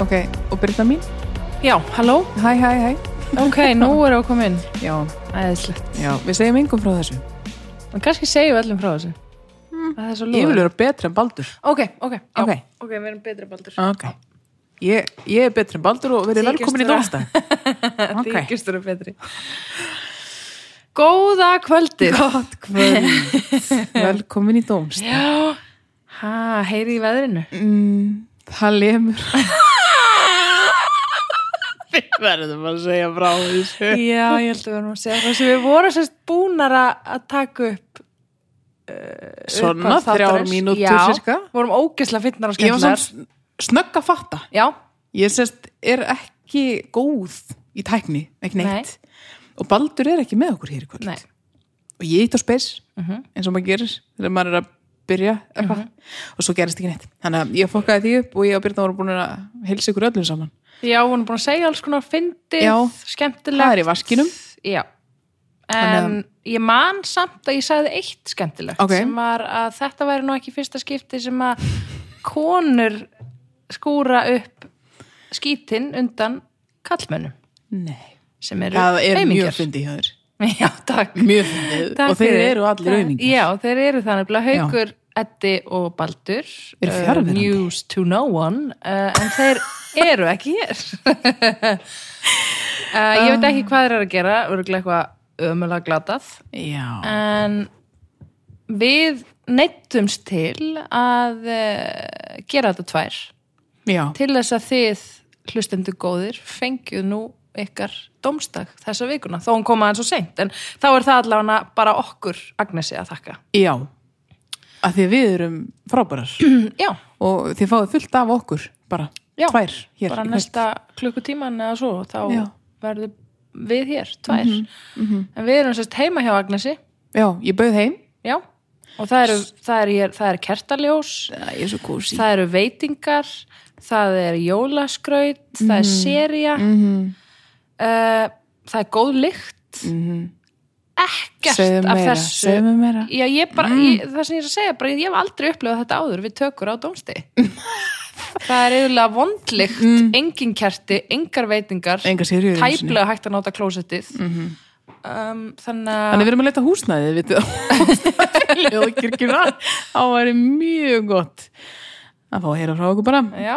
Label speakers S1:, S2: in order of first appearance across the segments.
S1: Ok, og Brynda mín?
S2: Já, halló?
S1: Hæ, hæ, hæ.
S2: Ok, nú erum við að koma inn.
S1: Já,
S2: Æðislegt.
S1: já, við segjum yngum frá þessu.
S2: En kannski segjum við öllum frá þessu. Mm. Það er svo
S1: Ég vil
S2: lúður.
S1: vera betri en Baldur.
S2: Ok, ok. já.
S1: Ok.
S2: Ok, við erum betri baldur.
S1: Ok. Ég, ég er betri en Baldur og verið
S2: Þykist
S1: velkomin í
S2: vera.
S1: dómstæð.
S2: Okay.
S1: Ok.
S2: Þykist eru betri. Góða kvöldið.
S1: Gott kvöld. Velkomin í dómstæð.
S2: Já. Ha, heyrið í veðrinu?
S1: Mm, það lemur.
S2: Við verðum að segja frá þessu. Já, ég held að við verðum að segja frá þessu. Við vorum sérst búnar að að taka upp uh,
S1: Svona
S2: upphaf
S1: þrjár
S2: þáttarins.
S1: mínútur
S2: Já,
S1: cirka.
S2: vorum ógeðslega fyndnar og
S1: Ég var
S2: skemmtlar.
S1: svona snögg að fatta.
S2: Já,
S1: Ég sérst er ekki góð í tækni, ekki neitt. Og Baldur er ekki með okkur hér í kvöld.
S2: nei. Mhm.
S1: og ég ítt á spes eins og maður gerir þegar maður er að byrja eitthvað og svo gerist ekki neitt þannig að ég fokkaði því upp og ég og Byrna vorum búin að helsa ykkur öllum saman
S2: Já, við vorum búin að segja alls konar fyndið,
S1: Já. það
S2: skemmtilegt.
S1: er í vaskinum
S2: Já, en
S1: Þannig
S2: ég man samt að ég sagði eitt skemmtilegt
S1: Ok.
S2: sem var að þetta væri nú ekki fyrsta skipti sem að konur skúra upp skítinn undan kallmönnum
S1: Nei.
S2: sem eru
S1: það er mjög
S2: aumingjar.
S1: fyndið hjá þér
S2: Já, takk.
S1: mjög fyndið
S2: Takk
S1: og þeir
S2: fyrir.
S1: eru allir
S2: Takk.
S1: auðningar
S2: Já, þeir eru þannig að haukur, Eddi og Baldur
S1: Eru fjarverandi.
S2: uh, News to no one uh, en þeir eru ekki hér uh, Ég veit ekki hvað þeir eru að gera örgulega eitthvað ömulega glatað
S1: já,
S2: en við neittumst til að uh, gera þetta tvær
S1: já.
S2: til þess að þið hlustendur góðir fengjuð nú ykkar domstag þessa vikuna þó hún koma aðeins og seint en þá er það allavega bara okkur Agnesi að þakka
S1: já. að því að við erum frábærar
S2: já,
S1: og þið fáið fullt af okkur bara,
S2: Já.
S1: tvær hér
S2: bara
S1: í kvöld.
S2: næsta klukkutíman eða svo þá
S1: Já. Mhm,
S2: verðum við hér, tvær en við erum sérst heima hjá Agnesi
S1: já, ég bauð heim
S2: já, og það eru, það eru, hér, það eru kertaljós
S1: það er svo kósi
S2: það eru veitingar það er jólaskraut það er
S1: Mhm.
S2: seria mm Eh, það er góð lykt ekkert
S1: Mhm. segðu
S2: af
S1: meira,
S2: þessu
S1: segðu meira Mm.
S2: Já, ég bara, ég, það sem ég er að segja, bara, ég hef aldrei upplifað þetta áður við tökur á dómsti. það er yfirlega vondlikt,
S1: Mm.
S2: engin kerti, engar veitingar,
S1: enga sérjur
S2: tæplega hægt að nota klósettið. um, þannig
S1: Mhm. Þannig
S2: að,
S1: við erum að leta húsnæði, við ljóðkirkjuna. Það væri mjög gott að fá að heyra frá okkur bara.
S2: já,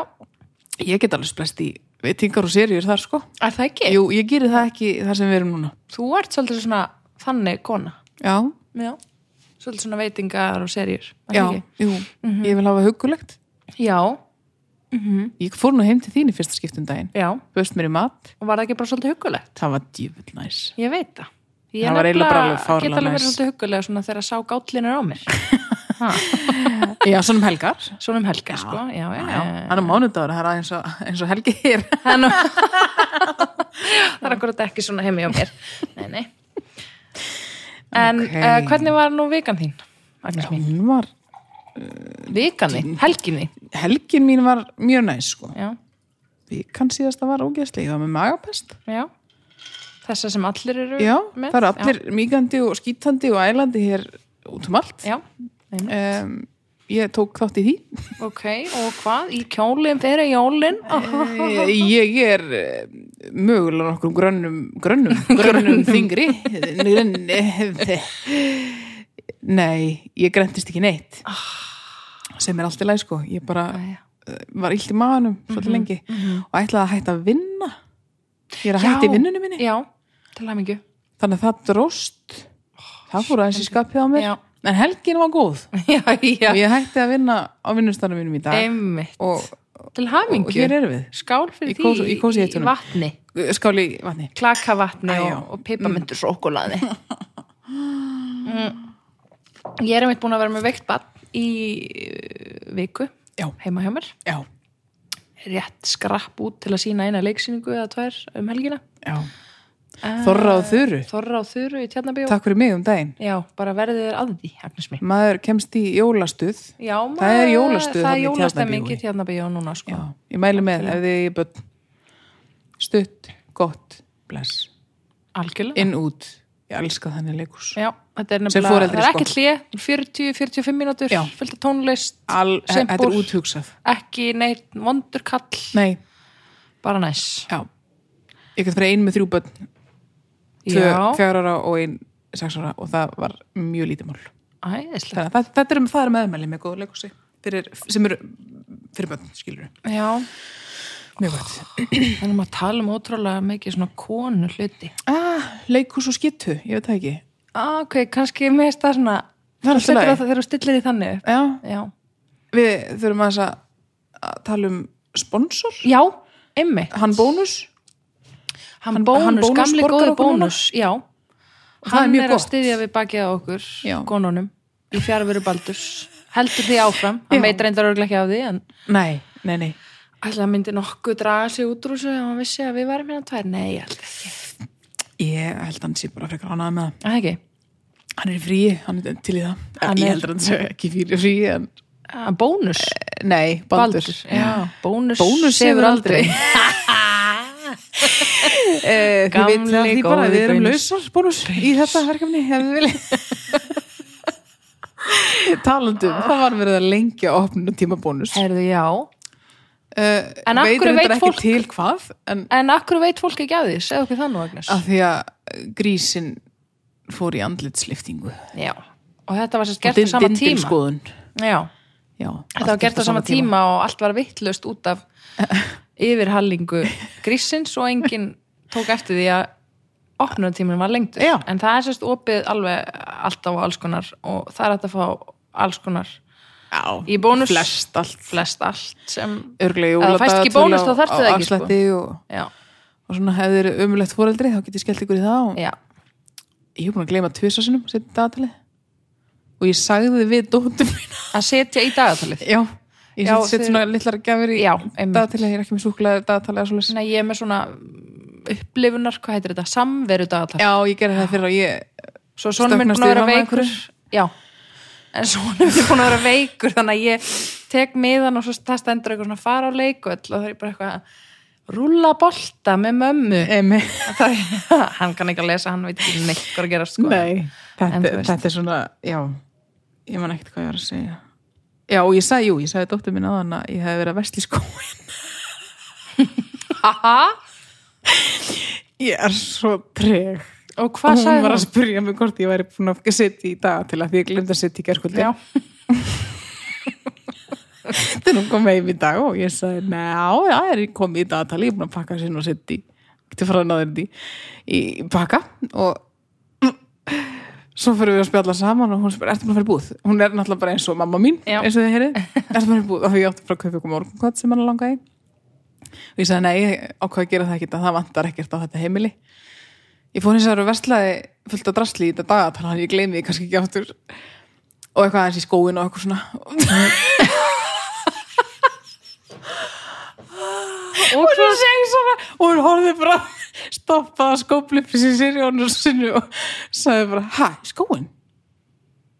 S1: Ég get alveg splest í veitingar og serjur þar sko.
S2: er það ekki?
S1: Jú, ég gerir það ekki þar sem við erum núna.
S2: Þú ert svolítið svona þannig kona.
S1: Já,
S2: Já. Svolítið svona veitingar og serjur. er það
S1: já,
S2: ekki?
S1: jú. Ég vil hafa hugulegt.
S2: Já,
S1: Ég fór nú heim til þín í fyrsta skiptum daginn.
S2: já.
S1: Böst mér í mat.
S2: Og var það ekki bara svolítið huggulegt?
S1: Það var djúvill næs.
S2: Ég veit það. Ég
S1: Það var eiginlega bara alveg fáránlega
S2: Geta alveg verið
S1: næs.
S2: svolítið huggulega svona þegar að sá gátlinir á mér.
S1: Já, svona um helgar.
S2: Svona um helga, sko. Já, já,
S1: Já,
S2: já.
S1: hann er mánudagur, það er aðeins og, eins og helgi hér.
S2: Það er nú- það er akkurat ekki svona heimi á mér. Nei, nei. En
S1: Ok.
S2: uh, hvernig var nú vikan þín? Agnes mín.
S1: Hún var,
S2: Vikan þín? Helgin þín?
S1: helgin mín var mjög næs sko.
S2: Já,
S1: Við kann síðast að var ógeðslega, ég var með magapest.
S2: já. Þessa sem allir eru
S1: Já,
S2: með?
S1: það eru allir mýgandi og skítandi og ælandi hér út um allt.
S2: Já, já. Nei,
S1: Um, ég tók þátt í því.
S2: ok. Og hvað? Í kjólinn fyrir jólinn?
S1: Eh, Ég er eh, mögulega nokkur grönnum, grönnum, grönnum þingri. Nei, ég grentist ekki neitt.
S2: Ah.
S1: Sem er allt í læg sko. Ég bara
S2: Jæja.
S1: eh, var illt í maðanum
S2: Mhm,
S1: svolítið lengi og ætlaði að hætta að vinna. Ég er að hætta í vinnunum minni.
S2: Já, til hæmingu.
S1: Þannig að það dróst. Það fór aðeins í skapið á mér.
S2: Oh, Já.
S1: En helgin var góð.
S2: já, já.
S1: og ég hætti að vinna á vinnustanum mínum í dag
S2: Einmitt.
S1: og,
S2: til
S1: og
S2: hamingju.
S1: hér erum við
S2: Skál
S1: Í
S2: fyrir
S1: kós-
S2: því
S1: í kósí
S2: í
S1: heitunum.
S2: vatni.
S1: skáli í vatni
S2: klakavatni
S1: Æ, já.
S2: og, og pipamundur sókulaði mm. ég er einmitt búin að vera með veikt bann í uh, viku
S1: já,
S2: heima hjá mér
S1: já,
S2: rétt skrapp út til að sína eina leiksýningu eða tvær um helgina
S1: já Þorra og Þuru,
S2: Þorra á Þuru í Tjarnabíó
S1: takk fyrir mig um daginn
S2: já, bara verðið þér að því, Agnes mín
S1: maður kemst í jólastuð
S2: já,
S1: Það er jólastuð
S2: það
S1: þarna
S2: er
S1: í
S2: jólastemming
S1: Tjarnarbíói.
S2: í Tjarnabíó núna sko.
S1: já, ég mæli með ef þið er börn stutt, gott, bless
S2: algjörlega
S1: inn út, ég elska þannig leikús
S2: já, þetta er
S1: Sem
S2: nefnilega,
S1: foreldri,
S2: það er
S1: sko.
S2: ekki hlje 40-45 mínútur,
S1: Já.
S2: fullt af tónlist
S1: Al, e,
S2: Sem
S1: þetta
S2: búr.
S1: er úthugsað
S2: ekki neitt vondur kall
S1: nei,
S2: bara næs
S1: já ég gæti verið ein með þrjú börn tvö,
S2: já,
S1: fjár ára og ein sex ára og það var mjög lítið mál þannig
S2: æðislega
S1: að það, það, er, það er meðmæli með góðu leikúsi fyrir, sem eru fyrir börn skilur
S2: já,
S1: mjög gott
S2: þannig að maður tala um ótrúlega mikið svona konu hluti
S1: ah, leikús og skittu, ég veit það ekki
S2: ah, ok, kannski mest það svona
S1: Það er allt í
S2: Stillir
S1: lagi.
S2: það þegar þú stillir því þannig upp.
S1: já,
S2: já,
S1: við þurfum aðeins að að tala um sponsor
S2: já, emmi
S1: hann bónus
S2: Ah, hann, bónus,
S1: hann Bónus
S2: gamli
S1: borgar
S2: góði
S1: okkur núna.
S2: bónus já,
S1: það er
S2: hann
S1: mjög
S2: er, að
S1: gott.
S2: styðja við bakið á okkur
S1: Já.
S2: konunum í fjárveru baldurs heldur því áfram, hann
S1: Já.
S2: veit reyndar örglega ekki af því en
S1: nei, nei, nei
S2: alltaf hann myndi nokkuð draga sig út úr þessu ef hann vissi að við varum hérna tvær, nei ég held ekki
S1: ég held að hann sé bara frekar ánæða með það
S2: að Ah, ekki,
S1: hann er í fríi, hann er til í það
S2: Hann
S1: ég
S2: er-
S1: heldur hann sé ekki fyrir fríi en...
S2: að Ah, bónus
S1: nei, baldur, baldur.
S2: Eh, já, bónus,
S1: bónus hefur aldrei Eh, þið
S2: Gamli
S1: vitið af því
S2: góði
S1: bara, við erum
S2: Bónus.
S1: lausar bónus í þetta verkefni ef þið viljið talandum, það var verið að lengja opnum tíma bónus uh,
S2: herðu já, En af
S1: veit
S2: hverju
S1: reyndar
S2: veit
S1: Eh, ekki
S2: fólk-
S1: til hvað en
S2: en akkur veit fólk ekki af því segðu okkur það nú Agnes
S1: að því að grísin fór í andlitsliftingu
S2: já, og sko. þetta var sérst
S1: Og
S2: gert á
S1: din-
S2: sama tíma
S1: dindilskoðun.
S2: já,
S1: Já,
S2: Þetta var gert á sama tíma og allt var vittlust út af yfirhallingu grísins og enginn tók eftir því að opnunartíminn var lengtur.
S1: Já.
S2: En það er sérst opið alveg alltaf á alls konar og það er hægt að fá alls konar
S1: Já,
S2: í bónus.
S1: flest allt
S2: Flest allt sem,
S1: örglega
S2: Ef það fæst ekki bónus, þá þarftu það ekki, sko.
S1: afslætti og,
S2: já,
S1: og svona hefur umulegt fóreldri þá getið skellt ykkur í það og
S2: já,
S1: ég er búin að gleyma tvisa sinum setja dagatali og ég sagði þið við dóttum mína
S2: að setja í dagatalið.
S1: já, ég
S2: Já,
S1: set, set
S2: þið-
S1: svona litlar gafir í
S2: Já, einmitt.
S1: dagatali ég er ekki með súklaði dagatali að svoleiðis
S2: Svona ég er með svona upplifunar, hvað heitir þetta, samveru dagatal.
S1: já, ég gerði það fyrir og ég
S2: Svo svona minn
S1: Stökknast
S2: búin að
S1: yfir
S2: vera
S1: hana
S2: veikur. Já. En svona er búin að vera veikur þannig að ég tek miðan og svo það stendur eitthvað svona fara á leikvöll og það er ég bara eitthvað að rúlla bolta með mömmu.
S1: emi
S2: Það, hann kann ekki að lesa, hann veit ekki neitt hvað er að gera sko.
S1: nei,
S2: En
S1: þetta,
S2: þú veist.
S1: þetta er svona já, ég man ekkert hvað ég var að segja já, og ég sagði, jú, ég sagði dóttum mín aðan að ég hef verið að vestli skóin
S2: Haha,
S1: ég er svo treg
S2: og hvað
S1: hún
S2: sagði
S1: var að
S2: hann?
S1: spyrja mig hvort ég væri búin að setja í dag til að því ég glemd að setja í gerkvöldi
S2: Já.
S1: þegar hún kom heim í dag og ég sagði ná, já, er ég komið í dagatali ég er búin að pakka sinni og setja í getur farað náður í, í pakka og svo fyrir við að spjalla saman og hún spyr, ertu búin að fara í búð? hún er náttúrulega bara eins og mamma mín
S2: Já.
S1: eins og þið heyrið, ertu búin að fara í búð? og ég átti bara að kaupa ykkur morgunkvæð sem hann langaði í. og ég sagði, nei, ég ákvað að gera það ekki það vantar ekkert á þetta heimili ég fór hins vegar og verslaði fullt af drasli í þetta dagatal hann ég gleymi því kannski ekki aftur og eitthvað aðeins í skóin og eitthvað svona
S2: Og
S1: og hún segi svona og hún horfði bara stoppaði að skóplippi sér sér í honum sinu og sagði bara, hæ, skóin?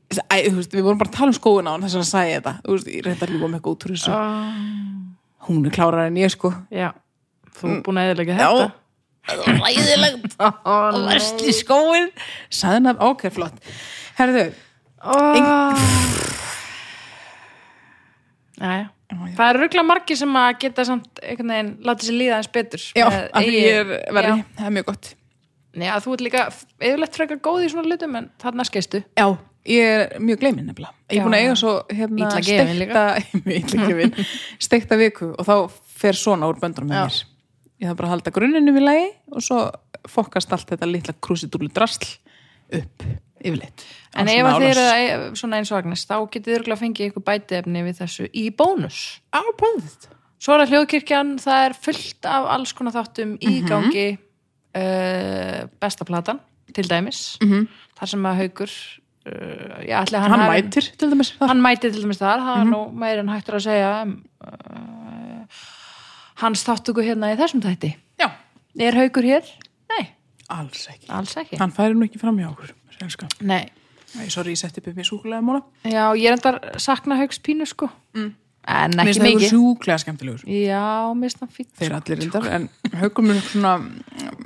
S1: Ég sagði, Æ, þú veist, við vorum bara að tala um skóin á hann þess að sagði ég þetta þú veist, ég reynda að ljúga með eitthvað út úr þessu hún er klárar en ég sko
S2: Já, þú er búin að eðilega
S1: Já.
S2: þetta.
S1: ræðilegt,
S2: Ó, nei.
S1: verst í skóin sagði hann að, ok, flott herðu,
S2: Ó. Jæja. Það eru röglega margir sem að geta samt einhvern veginn, láta sér líða eins betur
S1: já,
S2: með
S1: af því ég er
S2: eigin-
S1: verið,
S2: Já.
S1: það er mjög gott
S2: Nei, að þú ert líka yfirlegt frekar góð í svona hlutum en þarna skeistu
S1: Já, ég er mjög gleyminn nefnilega. Ég er búin að
S2: Já.
S1: eiga svo hérna
S2: Illa gefin líka.
S1: steikta, gefin, steikta viku og þá fer svona úr böndunum með
S2: Já.
S1: mér. Ég þarf bara að halda gruninum í lagi og svo fokkast allt þetta litla krúsidúlu drasl upp yfirleitt. Á
S2: En
S1: svona
S2: ef að þið
S1: álags-
S2: eru að- e- svona eins og Agnes þá getið þið örgulega að fengið ykkur bætiefni við þessu í bónus
S1: Á, prófið þetta.
S2: Svo er að hljóðkirkjan, það er fullt af alls konar þáttum í
S1: Mhm.
S2: gangi uh, besta platan til dæmis, -hmm. þar sem að haukur uh, já, ætli að hann,
S1: Mhm. Hann
S2: hafi-
S1: mætir til dæmis þar.
S2: hann mæti til dæmis þar, það er
S1: Mhm.
S2: nú meir en hættur að segja um, uh, hans þáttugu hérna í þessum þætti
S1: Já.
S2: er haukur hér? Nei,
S1: Alls ekki.
S2: alls ekki
S1: Hann færi nú ekki fram hjá okkur. Sælska.
S2: Nei.
S1: Æ, sorry, ég setti upp mér súkulega móla.
S2: Já, ég er endar sakna hauks pínu sko mm. en
S1: Mér
S2: ekki
S1: finnst það
S2: mikið
S1: ykkur sjúklega skemmtilegur.
S2: Já, mér finnst sko. það fínt
S1: Þeir allir reyndar, en haugur mér svona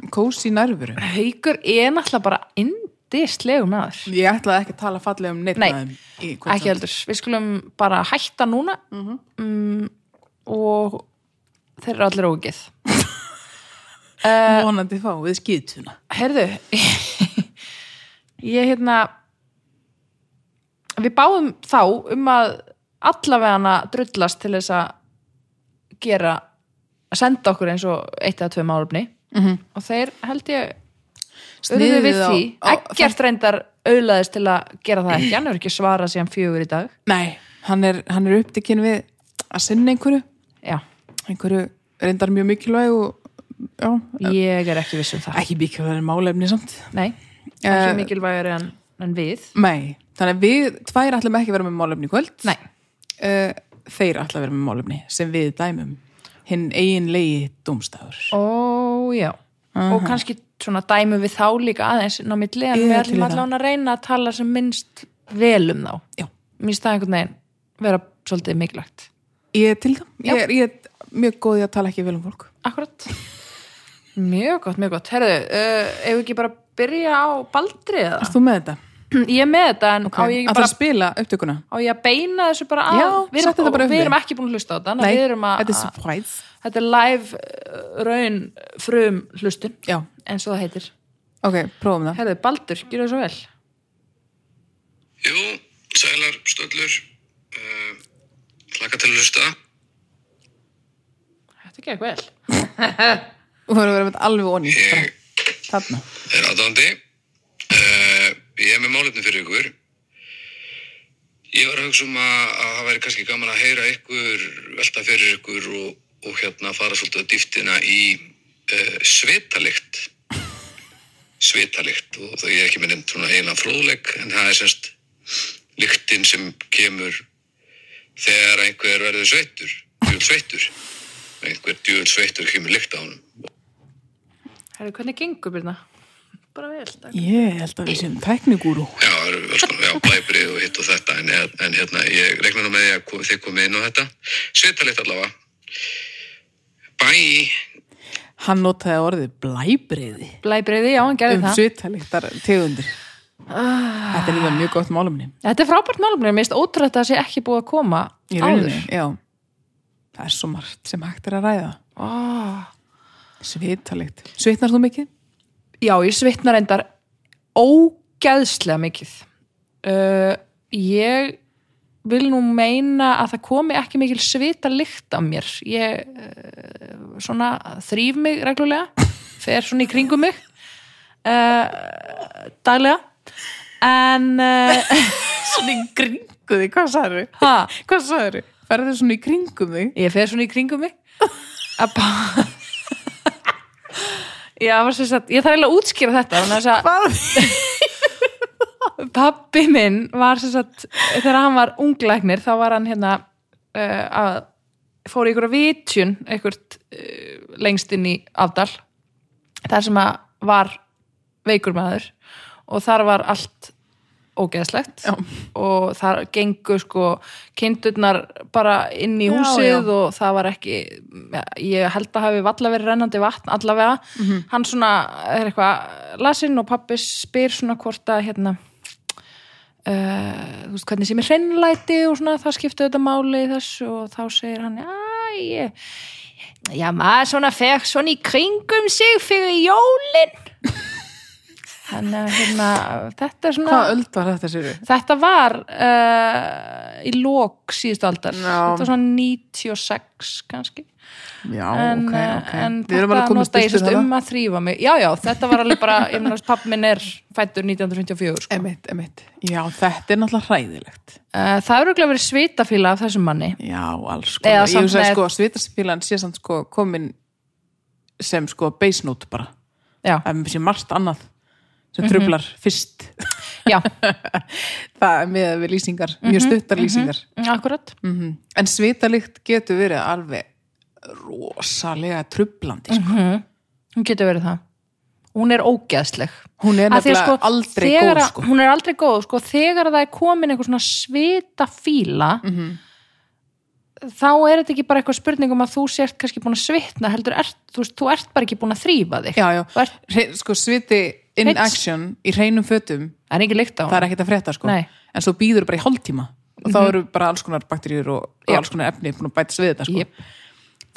S1: kósi nærveru.
S2: Haukur er náttúrulega bara indislegum aður
S1: Ég ætlaði ekki að tala fallega um neitt
S2: Nei,
S1: með þeim í kvöld.
S2: ekki heldur, við skulum bara
S1: Mhm.
S2: hætta núna mm og þeir eru allir ógið Eh,
S1: vonandi fá við skýtuna
S2: Herðu, ég hérna, við báðum þá um að allavegana drullast til þess að gera, að senda okkur eins og eitt eða tvö málefni -hmm. og þeir held ég urðu við því, ekkert reyndar auðlaðist til að gera það ekki, hann er ekki svarað síðan fjögur í dag.
S1: nei, hann er, hann er upptikinn við að sinna einhverju
S2: Já,
S1: einhverju reyndar mjög mikilvæg og já,
S2: ég er ekki viss um það.
S1: ekki mikilvæg en málefni samt
S2: Nei,
S1: Eh,
S2: ekki mikilvægur en, en við.
S1: nei, þannig að við tvær ætlum ekki að vera með málefni í kvöld
S2: Nei,
S1: Eh, þeir ætla að vera með málefni sem við dæmum hinn eiginlegi dómstafur
S2: Ó, já. Og kannski svona dæmum við þá líka aðeins inn á milli en
S1: Ég
S2: við
S1: er til í
S2: ætlum
S1: það.
S2: allan að reyna að tala sem minnst vel um þá.
S1: Já.
S2: Mér finnst það einhvern veginn vera svolítið mikilvægt.
S1: ég er til það, ég er, ég er mjög góð í að tala ekki vel um fólk
S2: Akkurat. Mjög gott, mjög gott. Herðu, uh, ef við ekki bara byrja á baldrið eða?
S1: Erst þú með þetta?
S2: Ég er með þetta en á ég
S1: Ætlarðu
S2: ekki
S1: að
S2: bara
S1: spila upptökuna?
S2: á ég að beina þessu bara að
S1: Já,
S2: við
S1: settu þetta
S2: erum,
S1: bara upp
S2: við
S1: við.
S2: erum ekki búin að hlusta á þetta þannig að við erum að,
S1: þetta er surprise
S2: þetta er live uh, raun frum hlustun
S1: Já,
S2: eins og það heitir
S1: ok, prófum það
S2: Herðu, Baldur, gjörðu svo vel
S3: Jú, sælar, stöllur, uh, hlaka til að hlusta.
S2: Þetta gekk vel.
S1: Þú voru að vera með alveg onni bara. Þarna
S3: Er aðdandi. Uh, ég er með málefni fyrir ykkur. Ég var að hugsa um að, að það væri kannski gaman að heyra ykkur, velta fyrir ykkur og, og hérna fara svolítið að dýftina í uh, svitalikt. Svitalikt og það ég er ekki með nefnd svona eiginlega fróðleik en það er semst lyktin sem kemur þegar einhver verður sveittur, djúl sveittur. Einhver djúl sveittur kemur lykt á honum
S2: Herru, hvernig gengur byrna? Bara vel, takk.
S1: Ég held að við séum tæknigúru
S3: Já, það eru alls konar, já, blæbrið og hitt og þetta, en, en hérna, ég regna nú með því að kom, þið komið inn á þetta. Svitalitt allavega. Bæ!
S1: Hann notaði orðið blæbriði
S2: Blæbriði, já, hann gerði
S1: um
S2: það. Ah.
S1: svitaliktar tegundir Þetta er líka mjög gott málumni
S2: Þetta er frábært málumrið, mér finnst ótrúlega að það sé ekki búið að koma
S1: Í
S2: áður.
S1: rauninni, já Það er svo margt sem hægt er að ræða
S2: Ó, Ah.
S1: Svitalikt. Svitnar þú mikið?
S2: já, ég svitna reyndar ógeðslega mikið. Uh, ég vil nú meina að það komi ekki mikil svita lykt af mér. Ég uh, svona þrýf mig reglulega, fer svona í kringum mig uh, daglega. En... Uh,
S1: Svona í kringu þig, hvað sagður þau?
S2: Ha?
S1: Hvað sagður þau? Færðu þau svona í kringum þig?
S2: Ég fer svona í kringum mig að bá Já, það var sem sagt, ég þarf eiginlega að útskýra þetta þannig að þess að
S1: Hvað?
S2: pappi minn var sem sagt, þegar hann var unglæknir þá var hann hérna uh, að fór í ykkur vitjun eitthvað uh, lengst inn í afdal þar sem að var veikur maður og þar var allt ógeðslegt
S1: Já.
S2: og þar gengu sko kindurnar bara inn í
S1: Já,
S2: húsið
S1: já.
S2: og það var ekki ja, ég held að hafi valla verið rennandi vatn allavega,
S1: Mhm.
S2: hann svona er eitthvað lasinn og pappi spyr svona hvort að hérna uh, þú veist hvernig sem er hreinlæti og svona það skiptu þetta máli í þessu og þá segir hann "Æ, ég, já maður svona fekk svona í kringum sig fyrir jólin þannig að hérna þetta er svona
S1: Hvaða öld var þetta, sér við?
S2: Þetta var uh, í lók síðust aldar,
S1: Já.
S2: þetta var svona 96 kannski
S1: Já,
S2: en,
S1: ok,
S2: eh,
S1: ok.
S2: en
S1: Við erum
S2: þetta
S1: alveg að koma
S2: nota ég
S1: styrstu
S2: sérst
S1: það.
S2: um að þrýfa mig Já, já, þetta var alveg bara, ég meina pappi minn er fættur 1954 sko.
S1: Emitt, emitt. Já, þetta er náttúrulega hræðilegt.
S2: Eh, Það eru örugglega verið svitafíla af þessum manni
S1: Já, alls sko.
S2: Eða
S1: Ég
S2: samt
S1: hugsaði
S2: með-
S1: sko að svitarsfílan sé samt sko komin sem sko base note bara.
S2: Já,
S1: Það er sér margt annað sem trublar fyrst.
S2: já,
S1: Það er með við lýsingar, mjög stuttar lýsingar.
S2: akkurat
S1: -hmm. En svitalikt getur verið alveg rosalega trublandi sko.
S2: Hún getur verið það Hún er ógeðsleg
S1: Hún er
S2: Af því að, sko,
S1: nefnilega aldrei
S2: þegar,
S1: góð
S2: að-
S1: sko.
S2: Hún er aldrei góð, sko, þegar það er komin einhver svona svitafíla
S1: Mhm.
S2: þá er þetta ekki bara eitthvað spurning um að þú sért kannski búin að svitna heldur, ert, þú, veist, þú ert bara ekki búin að þrýfa þig
S1: Já, já,
S2: Þú ert-
S1: Hre- sko sviti in
S2: Hreinn-
S1: action í hreinum fötum,
S2: Það er ekki lykt á
S1: það
S2: hún
S1: er ekkert að frétta sko.
S2: Nei. Mhm.
S1: en svo býður bara í hálftíma og þá eru bara alls konar bakteríur og, og alls konar efni búin að bæta svið þetta sko.
S2: Jep.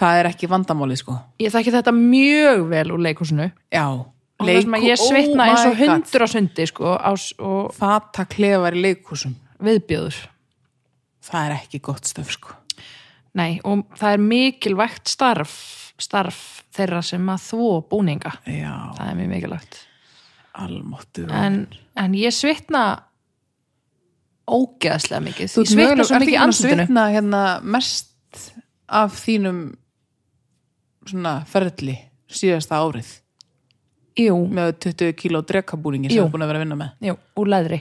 S1: það er ekki vandamálið sko
S2: Ég þekki þetta mjög vel úr leikhúsinu
S1: já,
S2: og það sem að ég
S1: oh
S2: svitna eins og hundur á sundi sko, á, s- og
S1: fata klefar í leikúsum
S2: viðbjöður
S1: það er ekki gott stöf sko
S2: Nei, og það er mikilvægt starf starf þeirra sem að þvó búninga
S1: já,
S2: það er mjög mikilvægt
S1: almáttu
S2: en, en ég svitna ógeðslega mikið
S1: þú
S2: ég svitna svo mikið í andlutinu
S1: svitna hérna mest af þínum svona ferli síðasta árið
S2: Jú,
S1: með 20 kíló drekabúningi sem
S2: Jú.
S1: þú er búin að vera að vinna með
S2: jú, úr leðri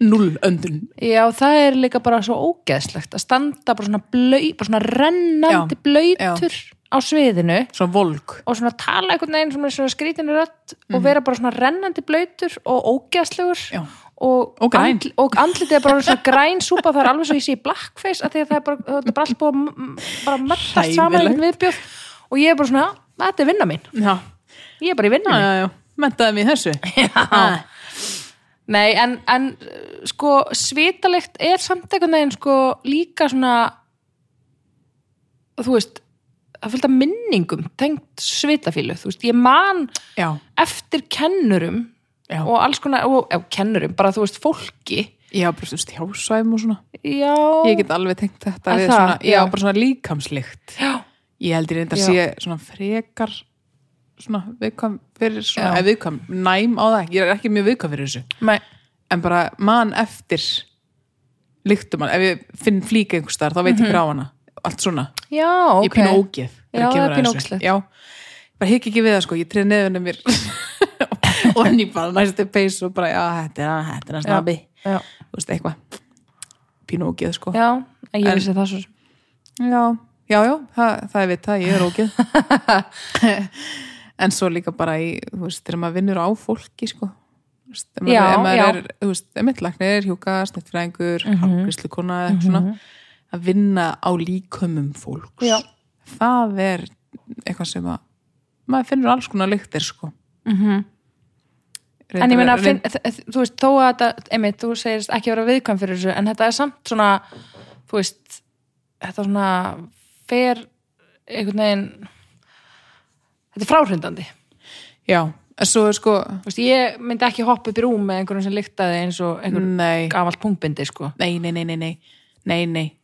S1: null öndun
S2: Já, það er líka bara svo ógeðslegt að standa bara svona blau, bara svona rennandi
S1: Já,
S2: blöytur á sviðinu
S1: svona volk
S2: og svona tala einhvern veginn svona, svona skrítinu rödd og vera bara svona rennandi blöytur og ógeðslegur
S1: Mhm. Já.
S2: og,
S1: Og græn.
S2: og andlitið er bara orðið svona græn súpa það er alveg svo ég sé í blackface af því að það er bara, það er bara allt búið að m- m- bara möttast saman í
S1: Hræðilegt.
S2: einhvern viðbjóð og ég er bara svona, þetta er vinna mín
S1: já,
S2: ég er bara í vinna
S1: já,
S2: mín
S1: já, já, mentaði mig í þessu Ah. já,
S2: Nei, en, en uh, sko svitalegt er samt einhvern veginn sko líka svona þú veist það fylgta minningum tengt svitafílu þú veist, ég man
S1: já,
S2: eftir kennurum
S1: Já.
S2: og alls konar, og, já, kennurum, bara þú veist fólki,
S1: já, bara svona hjásvæm og svona
S2: já
S1: ég get alveg tengt þetta
S2: Að
S1: við
S2: það,
S1: svona, já,
S2: já.
S1: bara svona líkamslikt
S2: já,
S1: ég heldur reynda
S2: Já.
S1: að sé svona frekar svona viðkvæm fyrir svona,
S2: Já.
S1: eða viðkvæm, næm á það ég er ekki mjög viðkvæm fyrir þessu
S2: mæ,
S1: en bara man eftir lyktum hann, ef ég finn flík einhvers þar, þá veit ég grá hana allt svona,
S2: já,
S1: ég
S2: ok
S1: er pínu ógeð þegar
S2: Já,
S1: kemur
S2: það er
S1: að
S2: pínu
S1: þessu.
S2: ógeðslegt.
S1: já, bara hikki ekki við það sko, ég treði nefnum mér og hann ég bara næstu peys og bara, já, þetta er hann, þetta er hann
S2: já,
S1: snabi
S2: já,
S1: þú veist, eitthvað pínu ógeð sko
S2: já, en ég
S1: En-
S2: vissi það svo sem.
S1: Já, já, já, það, það er vitað, ég er ógeð En svo líka bara í, þú veist, þegar maður vinnur á fólki, sko Þú veist, ef maður-
S2: Já,
S1: ef maður
S2: já. Mhm.
S1: er, þú veist, emittlæknir, hjúka, snittfræðingur mm -hmm. hálfgríslukona, eitthvað svona að vinna á líkömum fólks
S2: Já.
S1: það er eitthvað sem að maður finnur alls konar lyktir, sko mm -hmm.
S2: En Mhm. ég meina, finn, þ- þ- þú veist, þó að þetta, einmitt, þú segist ekki vera viðkvæm fyrir þessu, en þetta er samt svona, þú veist, þetta svona fer einhvern veginn, þetta er fráhrindandi.
S1: Já, en svo er sko
S2: Þú veist, ég myndi ekki hoppa upp í rúm með einhverjum sem lyktaði eins og einhver
S1: Nei
S2: gafalt punktbindi, sko.
S1: nei, nei, nei, nei, nei, nei, nei.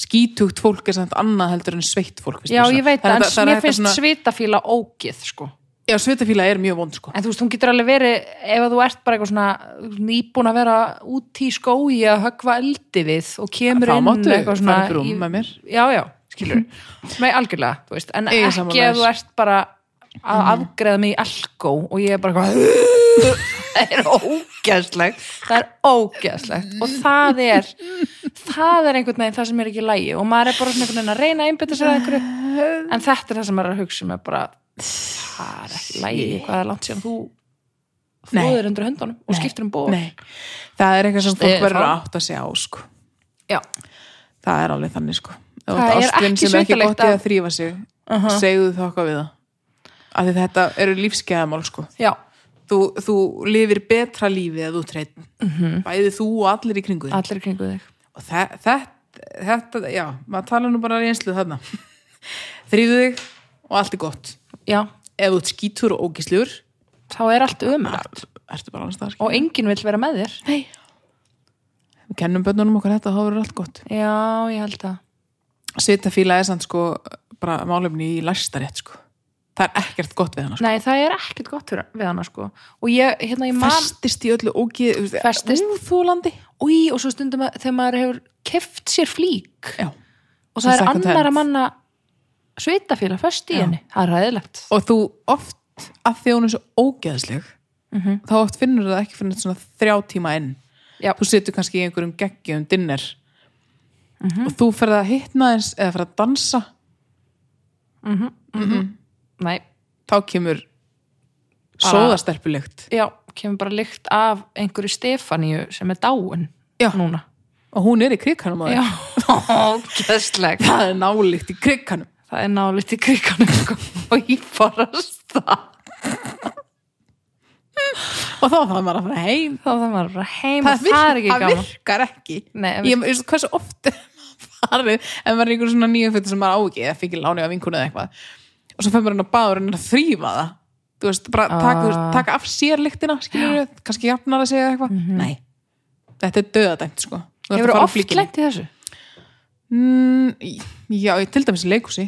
S1: skítugt fólk er samt annað heldur en sveitt fólk finnst
S2: Já,
S1: mér svona.
S2: ég veit
S1: er
S2: það,
S1: þetta-
S2: en
S1: er
S2: mér
S1: þetta
S2: finnst
S1: svona,
S2: svitafíla ógið, sko.
S1: já, sveitafíla er mjög vond sko.
S2: En þú veist, hún getur alveg verið, ef að þú ert bara eitthvað svona nýbúin að vera út í skói að höggva eldi við og kemur
S1: Þá
S2: inn
S1: máttu
S2: eitthvað svona
S1: fara upp í rúm
S2: í-
S1: með mér.
S2: Já, já, skilur. Nei, algjörlega, þú veist, en
S1: Ég er
S2: ekki
S1: sammála
S2: ef þú
S1: þér. Mhm.
S2: ert bara að afgreða mig í alkó og ég er bara eitthvað það er ógeðslegt það er ógeðslegt og það er það er einhvern veginn það sem er ekki í lægi og maður er bara svona einhvern veginn að reyna að einbytta sér að einhverju en þetta er það sem maður er að hugsa með bara það er ekki í lægi hvað er langt síðan þú
S1: Nei.
S2: þóður undir höndunum og skiptir um ból
S1: nei, það er eitthvað sem fólk
S2: Stefán.
S1: verður að átta sig á sko.
S2: já,
S1: það er alveg þannig sko. Ef þú
S2: Það
S1: ert
S2: er
S1: ástvin
S2: ekki
S1: sem er ekki
S2: sveitalegt
S1: gott í
S2: að-
S1: að þrýfa sig segðu þá okkar við það af því þetta eru lífskeiðamál sko.
S2: já,
S1: þú, þú lifir betra lífi að þú treyt
S2: Mhm.
S1: bæði þú og allir í kringu þig.
S2: allir í kringu þig
S1: og þe- þe- þetta, já, maður tala nú bara reynslu þarna þrýðu þig og allt er gott
S2: já,
S1: ef þú ert skítur og ógíslur
S2: þá er allt umrætt
S1: ertu bara alveg staðar
S2: og enginn vill vera með þér
S1: nei við kennum börnunum okkar þetta og þá verður allt gott
S2: já, ég held að
S1: svitafíla er sann sko bara málefni í læstarétt sko það er ekkert gott við hana sko.
S2: Nei, það er ekkert gott fyrir- við hana sko og ég, hérna, ég man
S1: festist í öllu ógið
S2: Festist.
S1: úþúlandi
S2: Új, og svo stundum að, þegar maður hefur keft sér flík
S1: já
S2: og
S1: Sem
S2: það er
S1: second hand.
S2: annara manna sveitafíla föst í henni, það er ræðilegt
S1: og þú oft að því að hún er svo ógeðsleg þá oft finnur það ekki fyrir svona þrjá tíma inn
S2: Já.
S1: þú situr kannski í einhverjum geggjum dinner og þú ferð að hittna eins eða ferð að dansa
S2: Nei,
S1: þá kemur sóðastelpulegt
S2: já, kemur bara lykt af einhverju Stefaníu sem er dáin
S1: Já.
S2: núna
S1: og hún er í krikanum
S2: Já, ógæsleg
S1: það er nálikt í krikanum
S2: Það er nálitt í krikanum sko, og ég farast það
S1: og þá þarf maður að fara heim
S2: þá það maður bara heim og það er ekki
S1: það
S2: gaman
S1: virkar ekki
S2: Nei, það
S1: ég, ég, veist hversu oft farið en maður er í einhverjum svona nýju fötum sem maður á ekki eða fengið láni af vinkunni eða eitthvað og svo fer maður inn á baður en að þrýfa það þú veist, bara taka, þú veist,
S2: Ah.
S1: taka af sér lyktina skilur við, kannski jafnar að segja eitthvað nei, þetta er döðadæmt sko Þú þarft að
S2: Hefur
S1: fara á
S2: Mhm. oft
S1: flíkina.
S2: lengt í þessu?
S1: Mm, í- já, ég- til dæmis í leikhúsi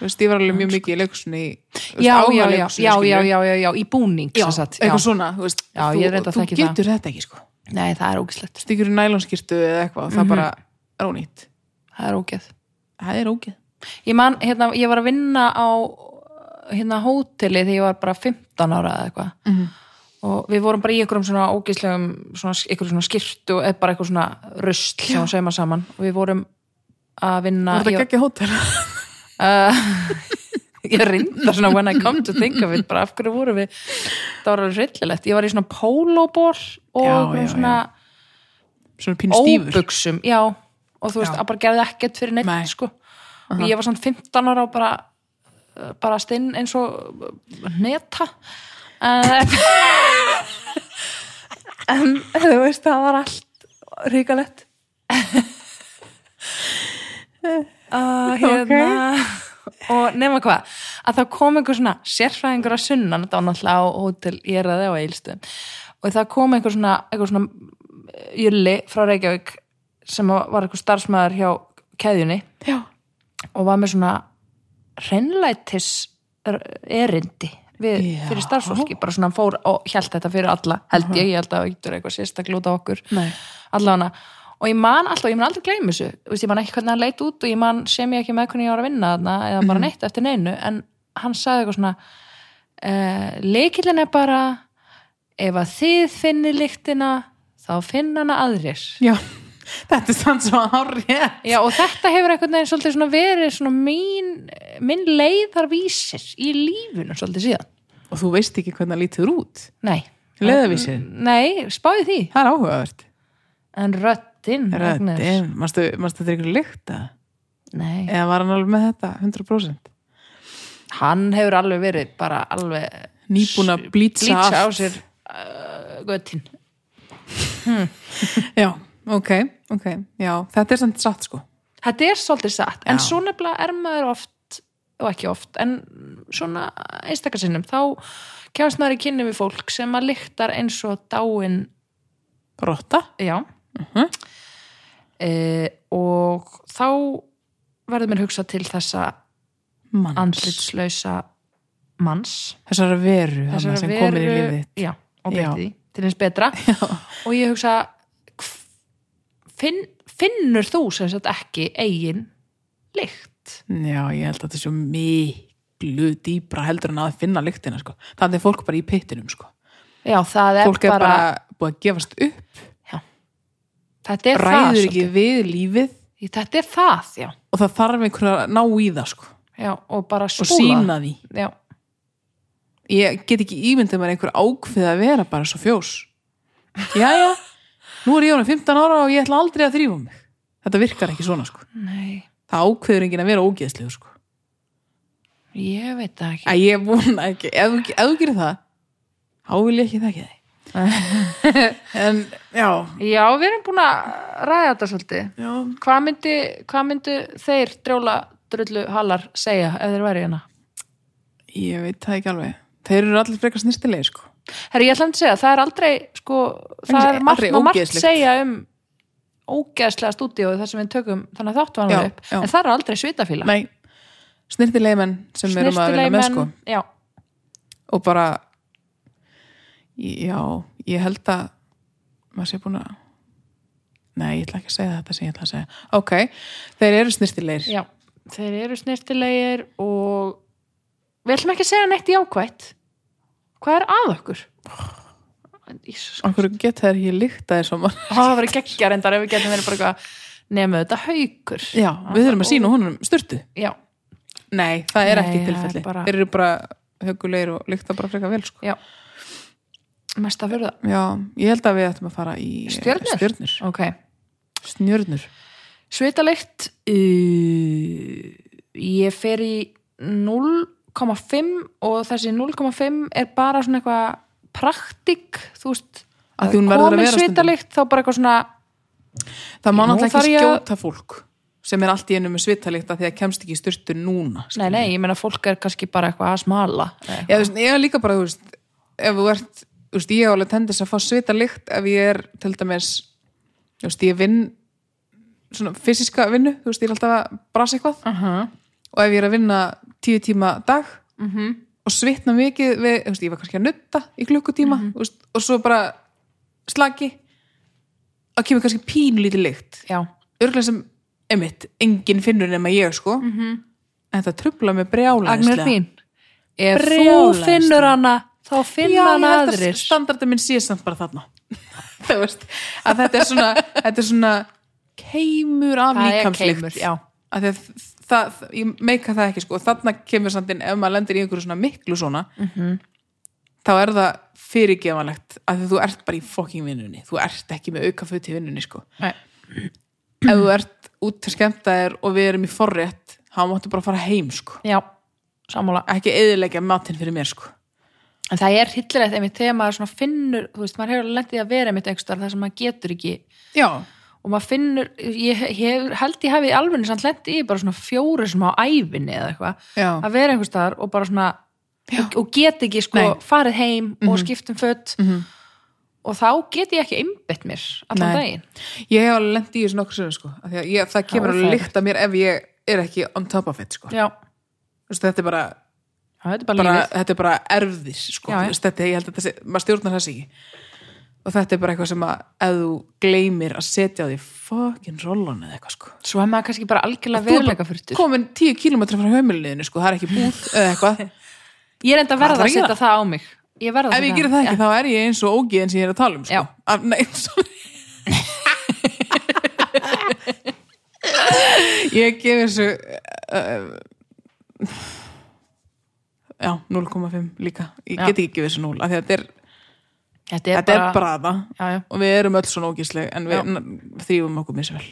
S1: Þú veist, ég var alveg mjög mikið í leikhúsinni þú veist,
S2: Ah, Já,
S1: áhuga
S2: já, já,
S1: leikhúsinu,
S2: já,
S1: skilur
S2: já,
S1: við.
S2: já, já, já, í búning
S1: Já,
S2: sem sagt, já.
S1: eitthvað svona, þú veist
S2: Já, ég er reyndar
S1: þú, þú
S2: að þekki það.
S1: getur þetta ekki, sko
S2: Nei, það er ógislegt,
S1: stíkur í nælonskirtu eða eitthvað og það bara er ónýtt
S2: það er ógeð
S1: Mhm. það er ógeð
S2: Ég man, hérna, ég var að vinna á hérna hóteli þegar ég var bara 15 ára eða eitthvað
S1: Mhm.
S2: og við vorum bara í einhverjum svona ógislegum svona, einhverjum svona skirtu eða bara eitthvað svona rusl sem hún sauma saman og við vorum að vinna
S1: var þetta
S2: ég,
S1: geggja hótel
S2: uh, ég rinda svona when I come to think of it bara af hverju vorum við það var alveg hryllilegt, ég var í svona pólóból og
S1: Já,
S2: já,
S1: já,
S2: svona
S1: svona pín stífur
S2: óbuksum já, og þú veist,
S1: Já.
S2: að bara gerði ekkert fyrir neitt
S1: Nei.
S2: sko, og ég var samt 15 ára og bara bara stinn eins og neta en, en þú veist, það var allt ríkalett uh, hérna og nema hvað að það kom einhver svona sérfræðingur að sunnan þetta var náttúrulega á hótel ég er að það á Eilstöðum og það kom einhver svona, einhver svona eh, julli frá Reykjavík sem var einhver starfsmæður hjá keðjunni
S1: já,
S2: og var með svona hreinlætis erindi við,
S1: Já.
S2: fyrir starfsfólki bara svona hann fór og hjælt þetta fyrir alla held ég, ég held að það yttur eitthvað sérstaklega út á okkur
S1: nei,
S2: allavega og ég man alltaf, ég mun aldrei gleyma þessu Þú veist, ég man ekki hvernig hann leit út og ég man sem ég ekki með hvernig ég var að vinna þarna eða bara neitt eftir neinu en hann sagði eitthvað svona uh, leikillin er bara ef að þið finni lyktina þá finn hana aðrir
S1: já þetta er sann svo árið
S2: Já, og þetta hefur einhvern veginn svolítið svona verið svona mín, minn leiðarvísir í lífinu svolítið síðan.
S1: og þú veist ekki hvernig það lítur út
S2: Nei.
S1: Leiðarvísirinn?
S2: Nei, spáði því.
S1: það er áhugavert
S2: En röddinn. Agnes.
S1: Röddin, manstu manstu þetta er ykkur lykt að
S2: Nei.
S1: eða var hann alveg með þetta 100%
S2: Hann hefur alveg verið bara alveg
S1: nýbúin að blýtsa
S2: blýtsa á
S1: allt.
S2: sér uh, göttin.
S1: já, ok, ok, já þetta er samt satt sko
S2: Þetta er svolítið satt, en
S1: Já.
S2: svo nefnilega er maður oft, og ekki oft, en svona einstakarsinnum, þá kjást maður í kynni við fólk sem að lyktar eins og dáin
S1: rotta
S2: Já e, og þá verður mér hugsað til þessa
S1: manns,
S2: andlitslausa manns
S1: þessara veru þessara
S2: þessara
S1: sem veru... komið í lífið þitt.
S2: já, og
S1: Já.
S2: breytti því, til eins betra og ég hugsa hv- finn, finnur þú sem sagt ekki eigin lykt
S1: Já, ég held að þetta er svo miklu dýbra heldur en að finna lyktina sko. þannig er fólk bara í pittinum sko.
S2: já, það er,
S1: fólk
S2: bara,
S1: er bara búið að gefast upp
S2: þetta er það
S1: ræður ekki
S2: svolítið.
S1: við lífið
S2: þetta er það, já,
S1: og það þarf einhvern að ná í það sko,
S2: já og bara spúla
S1: og sína því
S2: já,
S1: ég get ekki ímyndið mér einhver ákveð að vera bara svo fjós Jæja, nú er ég orðin 15 ára og ég ætla aldrei að þrýfa mig þetta virkar ekki svona sko.
S2: nei,
S1: það ákveður enginn að vera ógeðslegur sko.
S2: ég veit það ekki
S1: að ég vona ekki ef, þú- ef þú gerir það þá vil ég ekki þekki þig en já,
S2: já, við erum búin að ræða þetta svolítið
S1: já
S2: hvað myndi, hvað myndi þeir drjóla drullu hallar segja ef þeir væri hérna?
S1: ég veit það ekki alveg þeir eru allir frekar snirtilegi sko
S2: Herri, ég ætlaði að segja, það er aldrei sko, það
S1: Það er
S2: er margt,
S1: aldrei
S2: má margt
S1: ógeðslegt.
S2: segja um ógeðslega stúdíóið þar sem við tökum þannig að þáttu hann
S1: Já,
S2: upp,
S1: já.
S2: en það er aldrei svitafíla
S1: nei, snirtilegi menn sem við erum að vinna með sko
S2: já,
S1: og bara já, ég held að maður sé búin að nei, ég ætla ekki að segja þetta sem ég ætla að segja ok, þeir eru snirtilegir
S2: já, þeir eru snirtilegir og við ætlum ekki að segja neitt jákvætt hvað er að okkur? Ísus,
S1: okkur geta þeir ekki líkt að þessum
S2: það hafa verið geggjar endar ef við getum verið bara eitthvað nefnum þetta haukur
S1: já, við þurfum að sína honum styrtu
S2: já,
S1: Nei, það er
S2: Nei,
S1: ekki
S2: það er
S1: tilfelli.
S2: bara-
S1: Þeir eru bara högulegir og lykta bara frekar vel, sko.
S2: Já. mest að fyrir það
S1: Já, ég held að við ættum að fara í
S2: Stjörnur?
S1: Stjörnur.
S2: ok,
S1: Snjörnur.
S2: Svitalykt uh, ég fer í 0,5 og þessi 0,5 er bara svona eitthvað praktik, þú veist
S1: Að því hún verður að vera
S2: komin
S1: stundum.
S2: svitalykt þá bara eitthvað svona
S1: Það má
S2: Nú
S1: náttúrulega
S2: þarf
S1: ekki
S2: ég að-
S1: skjóta fólk. sem er allt í einu með svitalikt að því að kemst ekki í styrtu núna skilur.
S2: Nei, nei, ég meina fólk er kannski bara eitthvað að smala eða
S1: Já, þú veist, ég er líka bara, þú veist, ef þú ert, þú veist, ég hef alveg tendis að fá svita lykt ef ég er, til dæmis, þú veist, ég vinn svona fysiska vinnu, þú veist, ég er alltaf að brasa eitthvað
S2: eitthvað.
S1: og ef ég er að vinna tíu tíma dag
S2: Mhm.
S1: -hmm. og svitna mikið við, þú veist, ég var kannski að nutta í klukkutíma, þú veist, og svo bara slaki og kemur kannski pínlítið lykt
S2: Já,
S1: örgulega sem, einmitt, enginn finnur nema ég, sko -hmm. en það trubla mig brjálæðislega
S2: Agnar mín Ef þú
S1: Brjálæðislega.
S2: finnur hana þá finna hana
S1: ég held að
S2: aðrir
S1: standardin minn sé samt bara þarna þú veist að þetta er svona, þetta er svona keimur af
S2: Það er
S1: líkamslykt
S2: keimur, já.
S1: Af því að það, það, ég meika það ekki sko og þarna kemur samt inn ef maður lendir í einhverju svona miklu svona
S2: Mhm.
S1: -hmm. þá er það fyrirgefanlegt að þú ert bara í fucking vinnunni þú ert ekki með auka föt í vinnunni sko
S2: Nei.
S1: ef þú ert út til skemmtaðir og við erum í forrétt þá máttu bara fara heim sko
S2: Já, sammála
S1: ekki eðilegja matinn fyrir mér sko
S2: En það er hillilegt einmitt þegar maður svona finnur þú veist, maður hefur lendið að vera einmitt einhverstaðar þar sem maður getur ekki
S1: já,
S2: og maður finnur, ég hef, held ég hafi alveg samt lendið í bara svona fjóru sem á ævinni eða eitthvað
S1: já.
S2: að vera einhverstaðar og bara svona og, og get ekki sko
S1: Nei. Mhm.
S2: farið heim og skipt um fött og þá get ég ekki einbett mér allan
S1: Nei.
S2: daginn
S1: Ég hef alveg lent í þessu nokkur sem sko. Af því að ég, það kemur alveg
S2: óþægilegt.
S1: líkt að mér ef ég er ekki on top of it sko.
S2: Já,
S1: Þessu, þetta, er bara,
S2: það er bara,
S1: bara,
S2: lífið
S1: þetta er bara erfðir sko.
S2: Já, já.
S1: Þessu, þetta, ég held að þetta, sé- maður stjórnar þessi ekki og þetta er bara eitthvað sem að ef þú gleymir að setja á því fucking rollan eða eitthvað sko.
S2: Svo er maður kannski bara algjörlega
S1: Þú er
S2: veruleika
S1: bara
S2: fyrtur
S1: komin tíu kílómetra frá heimilinu sko. það er ekki búð eða eitthvað
S2: Ég er enda að verða
S1: ætlarðu
S2: að
S1: að gera?
S2: setja það á mig Ég verða
S1: ef ég gerir það ekki þá er ég eins og ógiðin sem ég er að tala um sko.
S2: Já.
S1: Af, nei, sorry. ég gef þessu uh, já, 0,5 líka ég
S2: Já.
S1: get ekki gefið þessu 0 af því að þetta er,
S2: Þetta er
S1: þetta
S2: bara,
S1: er braða
S2: Já, já.
S1: og við erum öll svona ógisleg en
S2: Já.
S1: við n- þrýfum okkur misvel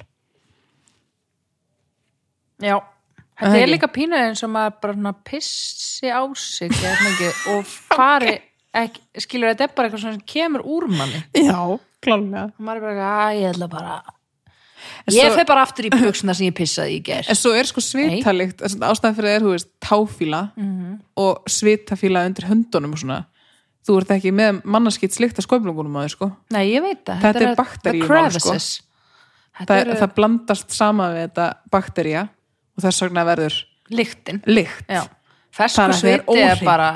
S2: já.
S1: Það
S2: Þetta
S1: er
S2: er
S1: ekki.
S2: líka pínu eins og maður bara svona pissi á sig eða svona ekki, og fari ekki, skilur þetta er bara eitthvað svona sem kemur úr manni
S1: já, klálega
S2: og maður er bara eitthvað, að ég ætla bara
S1: En
S2: Ég
S1: svo-
S2: fer bara aftur í buksuna sem ég pissaði í ger
S1: En svo er sko svitalikt ástæðan fyrir það er, þú veist, táfíla
S2: Mhm.
S1: og svitafíla undir höndunum og svona, þú ert ekki með mannarskitt slikt að sköflungunum á þér sko
S2: Nei, ég veit það
S1: Þetta er
S2: the
S1: bakteríumál, sko.
S2: crevices. Þetta
S1: það,
S2: eru
S1: það blandast sama við þetta bakterja og þess vegna verður
S2: lyktin
S1: lykt
S2: Já, fersku
S1: Bara það er
S2: sviti er
S1: óhreint.
S2: bara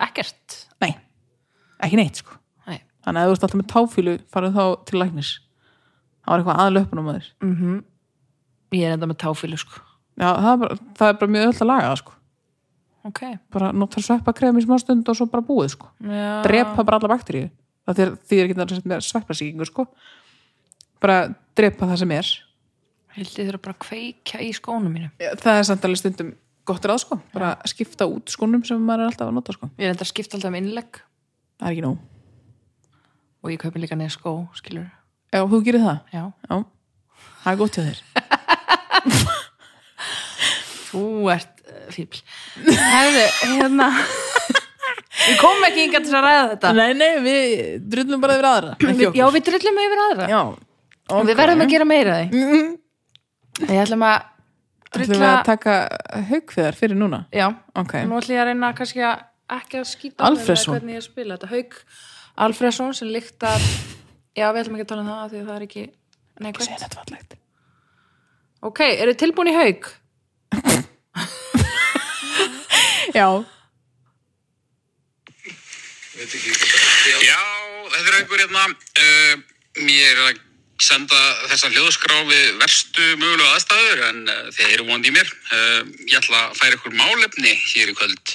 S2: ekkert
S1: Nei, ekki neitt sko
S2: Nei.
S1: Þannig að ef þú ert alltaf með táfílu farið þá til læknis Það var eitthvað aðlöpunum á
S2: Mm.
S1: þér
S2: Ég er enda með táfílu sko
S1: Já, það er bara, það er bara mjög öll að laga það sko
S2: Ok,
S1: bara notar sveppa í smá stund og svo bara búið sko
S2: já
S1: drepa bara alla bakteríu það þýr, þýr ekki náttúrulega með sveppasíkingu sko bara drepa það sem er
S2: Hildi þurfa bara að kveikja í skónum mínum
S1: það er samt alveg stundum gott ráð sko bara skipta út skónum sem maður er alltaf að nota sko
S2: Ég er enda að skipta alltaf um innlegg
S1: það er ekki nóg,
S2: og ég kaupi líka neða skó, skilur
S1: já þú gerir það
S2: Já,
S1: já, það er gott hjá þér
S2: þú ert uh, fíbl Hefðu, hérna Við komum ekki inga til að ræða þetta
S1: nei, nei, við drullum bara yfir aðra ekki
S2: Já, við drullum yfir aðra
S1: já,
S2: og við verðum að gera meira af því Við Mm-hmm. ætlum að
S1: drulla við
S2: drulla
S1: að taka haugfjöðar fyrir núna
S2: Já,
S1: ok,
S2: nú ætlum ég að reyna kannski að ekki að skýta
S1: Alfreðsson.
S2: hvernig ég spila þetta Hauk Alfredsson sem líktar Já, við ætlum ekki að tala um það af því að það er ekki Nei, hvað?
S1: segja þetta fallegt
S2: Ok, eru tilbúin í haug?
S1: já,
S3: Já, þetta er haugur hérna. Uh, mér er að senda þessa hljóðskrá við verstu mögulega aðstæður en uh, þeir eru vond í mér. Uh, ég ætla að færa ykkur málefni hér í kvöld.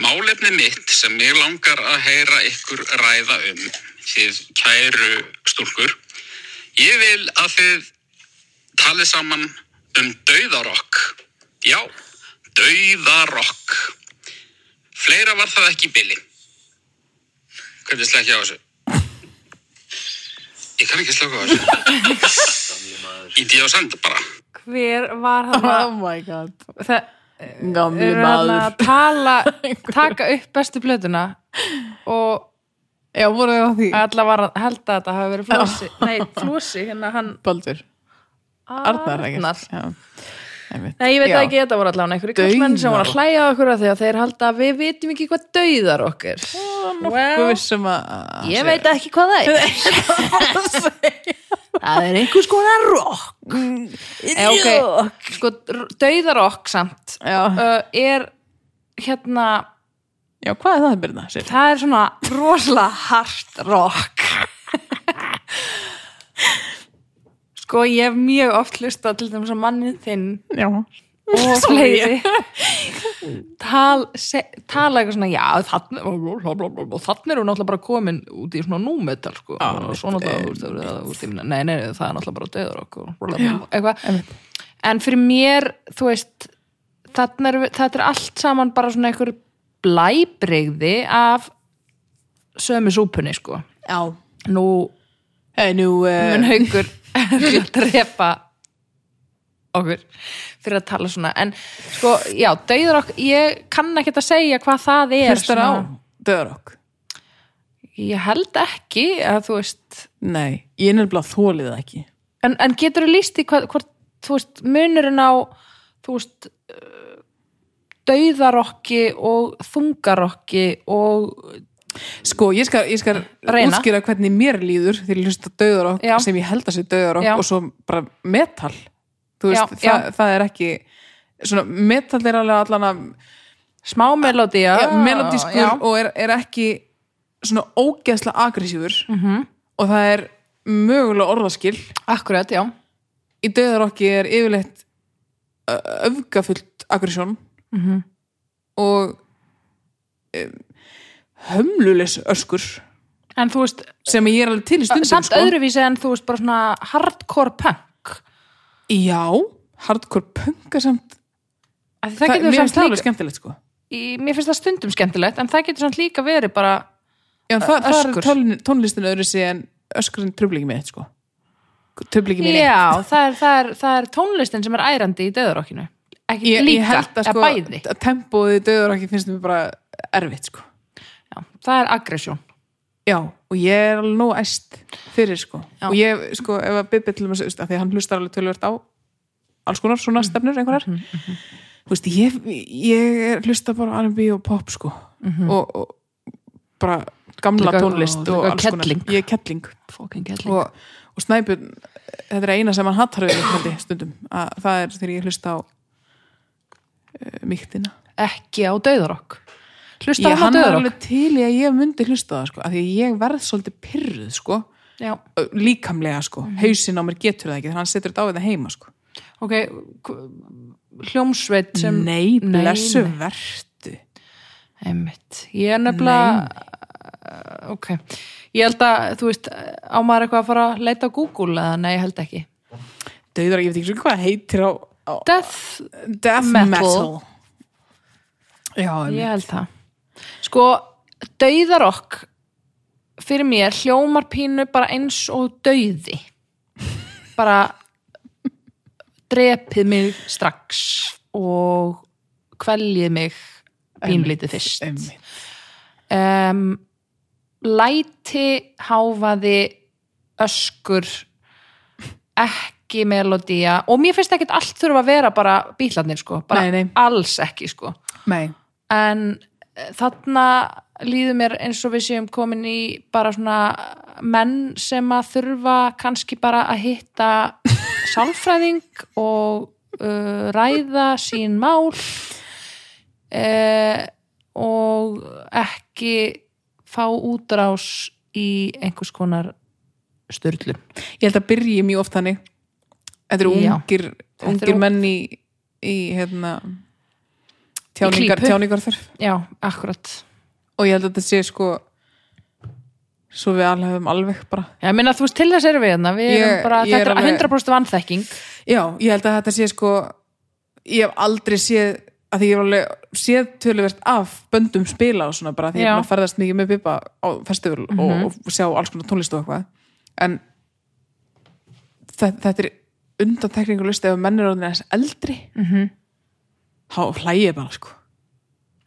S3: Málefni mitt sem ég langar að heyra ykkur ræða um þið kæru stúlkur. Ég vil að þið talið saman um dauðarokk. Já, dauðarokk. Fleira var það ekki í bili. Hvernig slekja á þessu? Ég kann ekki slaka á þessu. Í díu og senda bara.
S2: Hver var hann
S1: oh my god
S2: Það
S1: Eh, gamli
S2: eru hann hérna að
S1: maður
S2: tala taka upp bestu plötuna og
S1: já, voru við á því,
S2: alla var að held að þetta hafi verið flósi Nei, flósi, hérna hann,
S1: Baldur Arnar, ekki?
S2: Arnar.
S1: Já, einmitt.
S2: Nei, ég veit
S1: Já.
S2: það ekki, þetta voru allavega einhverju kallmenn sem voru
S1: Dauðar.
S2: að hlæja að okkur að því að þeir halda að við vitum ekki hvað dauðar okkur.
S1: Nokkuð vissum um að
S2: ég veit ekki hvað það er. það er einhvers konar rock. Eh, ok, sko, dauðarokk samt
S1: Já,
S2: uh, er hérna,
S1: já hvað er það að byrna? Sér?
S2: það er svona rosalega hart rock. sko, ég hef mjög oft hlustað til þess að mannið þinn
S1: Já,
S2: og fleiri Tal, se, tala eitthvað svona já, þannig þannig eru náttúrulega bara komin út í svona númetal sko.
S1: Já,
S2: og svo náttúrulega úst, úst, úst, nei, nei, nei, það er náttúrulega bara döður okkur eitthvað,
S1: einmitt.
S2: en fyrir mér þú veist þarna er, þetta er allt saman bara svona einhver blæbrigði af sömu súpunni sko
S1: já.
S2: nú
S1: Hey, nú,
S2: mun
S1: uh,
S2: haugur að drepa okkur fyrir að tala svona en sko, já, dauður okkur ég kann ekki að segja hvað það er
S1: hlustar á
S2: svona.
S1: Dörrok?
S2: ég held ekki að þú veist
S1: Nei, ég nefnilega þólið það ekki
S2: en, en getur þú líst í hvað, hvort þú veist, munurinn á þú veist eh, dauðarokki og þungarokki og
S1: Sko, ég skal, ég skal
S2: Reyna.
S1: útskýra hvernig mér líður þegar ég hlusta döðarokk
S2: Já.
S1: sem ég held að sé döðarokk
S2: Já.
S1: og svo bara metal þú veist,
S2: Já,
S1: það, það er ekki svona, metal er alveg allan að
S2: smá melodía
S1: já, melodískur
S2: já.
S1: og er, er ekki svona ógeðslega agressífur
S2: Mhm.
S1: -hmm. og það er mögulega orðaskil
S2: akkurat, já
S1: í döðarokki er yfirleitt ö- öfgafullt agressjón
S2: Mhm.
S1: og um, hömlulis öskur
S2: en þú veist,
S1: sem ég er alveg til í stundum
S2: samt
S1: sko.
S2: öðruvísi en þú veist bara svona hardcore punk
S1: Já, hardcore punk er samt
S2: Af því Það, það
S1: mér
S2: getur
S1: finnst
S2: samt
S1: það alveg
S2: líka,
S1: skemmtilegt sko
S2: í, mér finnst það stundum skemmtilegt, en það getur samt líka verið bara,
S1: Já, en það, það er
S2: öskur.
S1: tón- tónlistin öðru sé en öskurinn trublingi mitt sko Trublingi mín
S2: já, það er, það, er, það er tónlistin sem er ærandi í döðurokkinu. Ekki
S1: Ég, ég
S2: líka,
S1: held að
S2: eða
S1: sko
S2: bæði.
S1: að tempóið döður ekki finnst mér bara erfitt sko
S2: Já, það er aggresjón.
S1: Já, og ég er alveg nóg æst fyrir sko
S2: Já.
S1: og ég, sko, ef að Bibi til þess að því að hann hlustar alveg tölvört á alls konar svona stefnur einhverjar þú veist, ég, ég er- hlusta bara R&B og pop sko og, og bara gamla
S2: Líka-
S1: tónlist
S2: og
S1: og
S2: líka
S1: alls konar
S2: kelling.
S1: ég er kettling
S2: Fucking gætli.
S1: og, og snæpun, þetta er eina sem hann hattar við hlundi stundum að það er þegar ég hlusta á uh, mýktina
S2: Ekki á döðurokk. Hlusta
S1: ég
S2: hann á
S1: hann er
S2: döðurokk.
S1: alveg til í að ég myndi hlusta á það sko, af því að ég verð svolítið pyrruð sko
S2: Já,
S1: líkamlega sko,
S2: Mhm.
S1: hausinn á mér getur það ekki þannig að hann setur þetta á þetta heima sko
S2: ok, k- hljómsveit sem...
S1: nei,
S2: Nei,
S1: blessu
S2: nei.
S1: vertu
S2: Einmitt. Ég er nefnilega... Eh, Ok, ég held að, þú veist, á maður eitthvað að fara að leita á Google eða nei, ég held ekki.
S1: döður, ég veit ekki svo hvað heitir á, á
S2: Death
S1: death
S2: Metal.
S1: metal, já,
S2: Ég
S1: yeah.
S2: held það. Sko, dauðarokk fyrir mér hljómar pínu bara eins og dauði. Bara drepið mig strax og kveljið mig pínlítið fyrst.
S1: einmitt
S2: Um, læti, háfaði, öskur, ekki melodía og mér finnst ekkert allt þurfa að vera bara bílarnir sko, bara
S1: Nei, nei.
S2: alls ekki sko
S1: nei,
S2: en eh, þarna líður mér eins og við séum komin í bara svona menn sem að þurfa kannski bara að hitta sálfræðing og uh, ræða sín mál uh, og ekki fá útrás í einhvers konar störlu
S1: ég held að byrji mjög oft þannig þetta eru
S2: Já.
S1: ungir,
S2: Þetta eru
S1: ungir
S2: ung-
S1: menn í, í hérna tjáningar,
S2: klípu.
S1: tjáningar þurf
S2: Já, akkurat
S1: og ég held að þetta sé sko svo við alveg hefum alveg bara
S2: Já, minna, þú veist, til þess erum við hérna við
S1: Ég-
S2: erum bara,
S1: ég er
S2: þetta er
S1: alveg-
S2: 100% vannþekking
S1: Já, ég held að þetta sé sko ég hef aldrei séð að því ég hef alveg séð töluvert af böndum spila og svona bara því ég
S2: Já.
S1: hef að ferðast mikið með Bibba á festival og, og sjá alls konar tónlist og eitthvað en þetta, þetta er undantekningu lust ef menn er orðin eins eldri mm -hmm. þá hlægi ég bara sko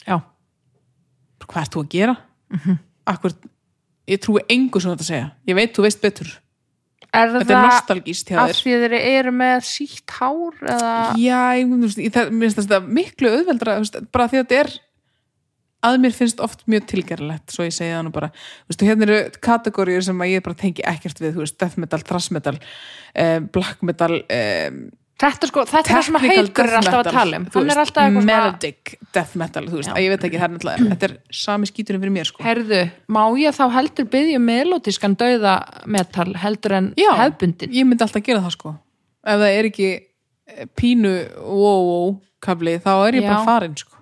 S2: Já,
S1: hvað ert þú að Mhm. gera? Mm -hmm. Akkur, ég trúi engu sem þú ert að segja ég veit þú veist betur
S2: Er
S1: Þetta er nostalgíst hjá
S2: af
S1: þér
S2: því þeir eru með sítt hár eða
S1: Já, ég, þú veist, ég, það, mér finnst þetta miklu auðveldra þú veist, bara því að þetta er að mér finnst oft mjög tilgerlegt svo ég segi það nú bara, þú veist, og hérna eru kategóriur sem að ég bara tengi ekkert við þú veist, death metal, thrash metal eh, black metal eh,
S2: þetta er sko, þetta er það sem að
S1: technical
S2: haukur er
S1: death
S2: alltaf að
S1: metal,
S2: tala um
S1: þú
S2: hann er
S1: veist,
S2: alltaf eitthvað svona,
S1: melodic death metal, þú veist, að ég veit ekki það er náttúrulega, þetta er sami skíturinn fyrir mér sko.
S2: herðu, má ég þá heldur byggja melodískan dauða metal heldur en
S1: Já,
S2: hefbundin
S1: ég myndi alltaf gera það sko ef það er ekki eh, pínu wow, wow, kafli, þá er ég
S2: Já.
S1: bara farin sko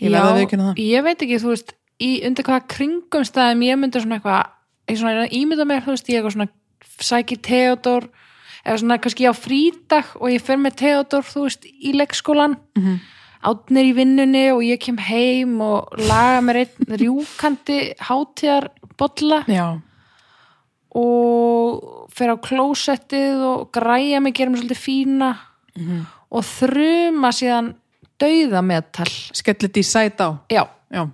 S1: Ég verð að viðurkenna það.
S2: ég veit ekki, þú veist í undir hvaða kringumstæðum ég myndi svona eitthvað, ég svona ég ímynda mér, þú veist, ég eitthvað svona sæki Theodor, eða svona kannski á frídag og ég fer með Theodor, þú veist, í leikskólan mm
S1: Mhm.
S2: -hmm. átnir í vinnunni og ég kem heim og laga mér einn rjúkandi hátíðar bolla
S1: Já,
S2: og fer á klósettið og græja mig, gera mig svolítið fína
S1: Mhm.
S2: og þruma síðan dauðametal
S1: skellit í sæt á
S2: já,
S1: Já,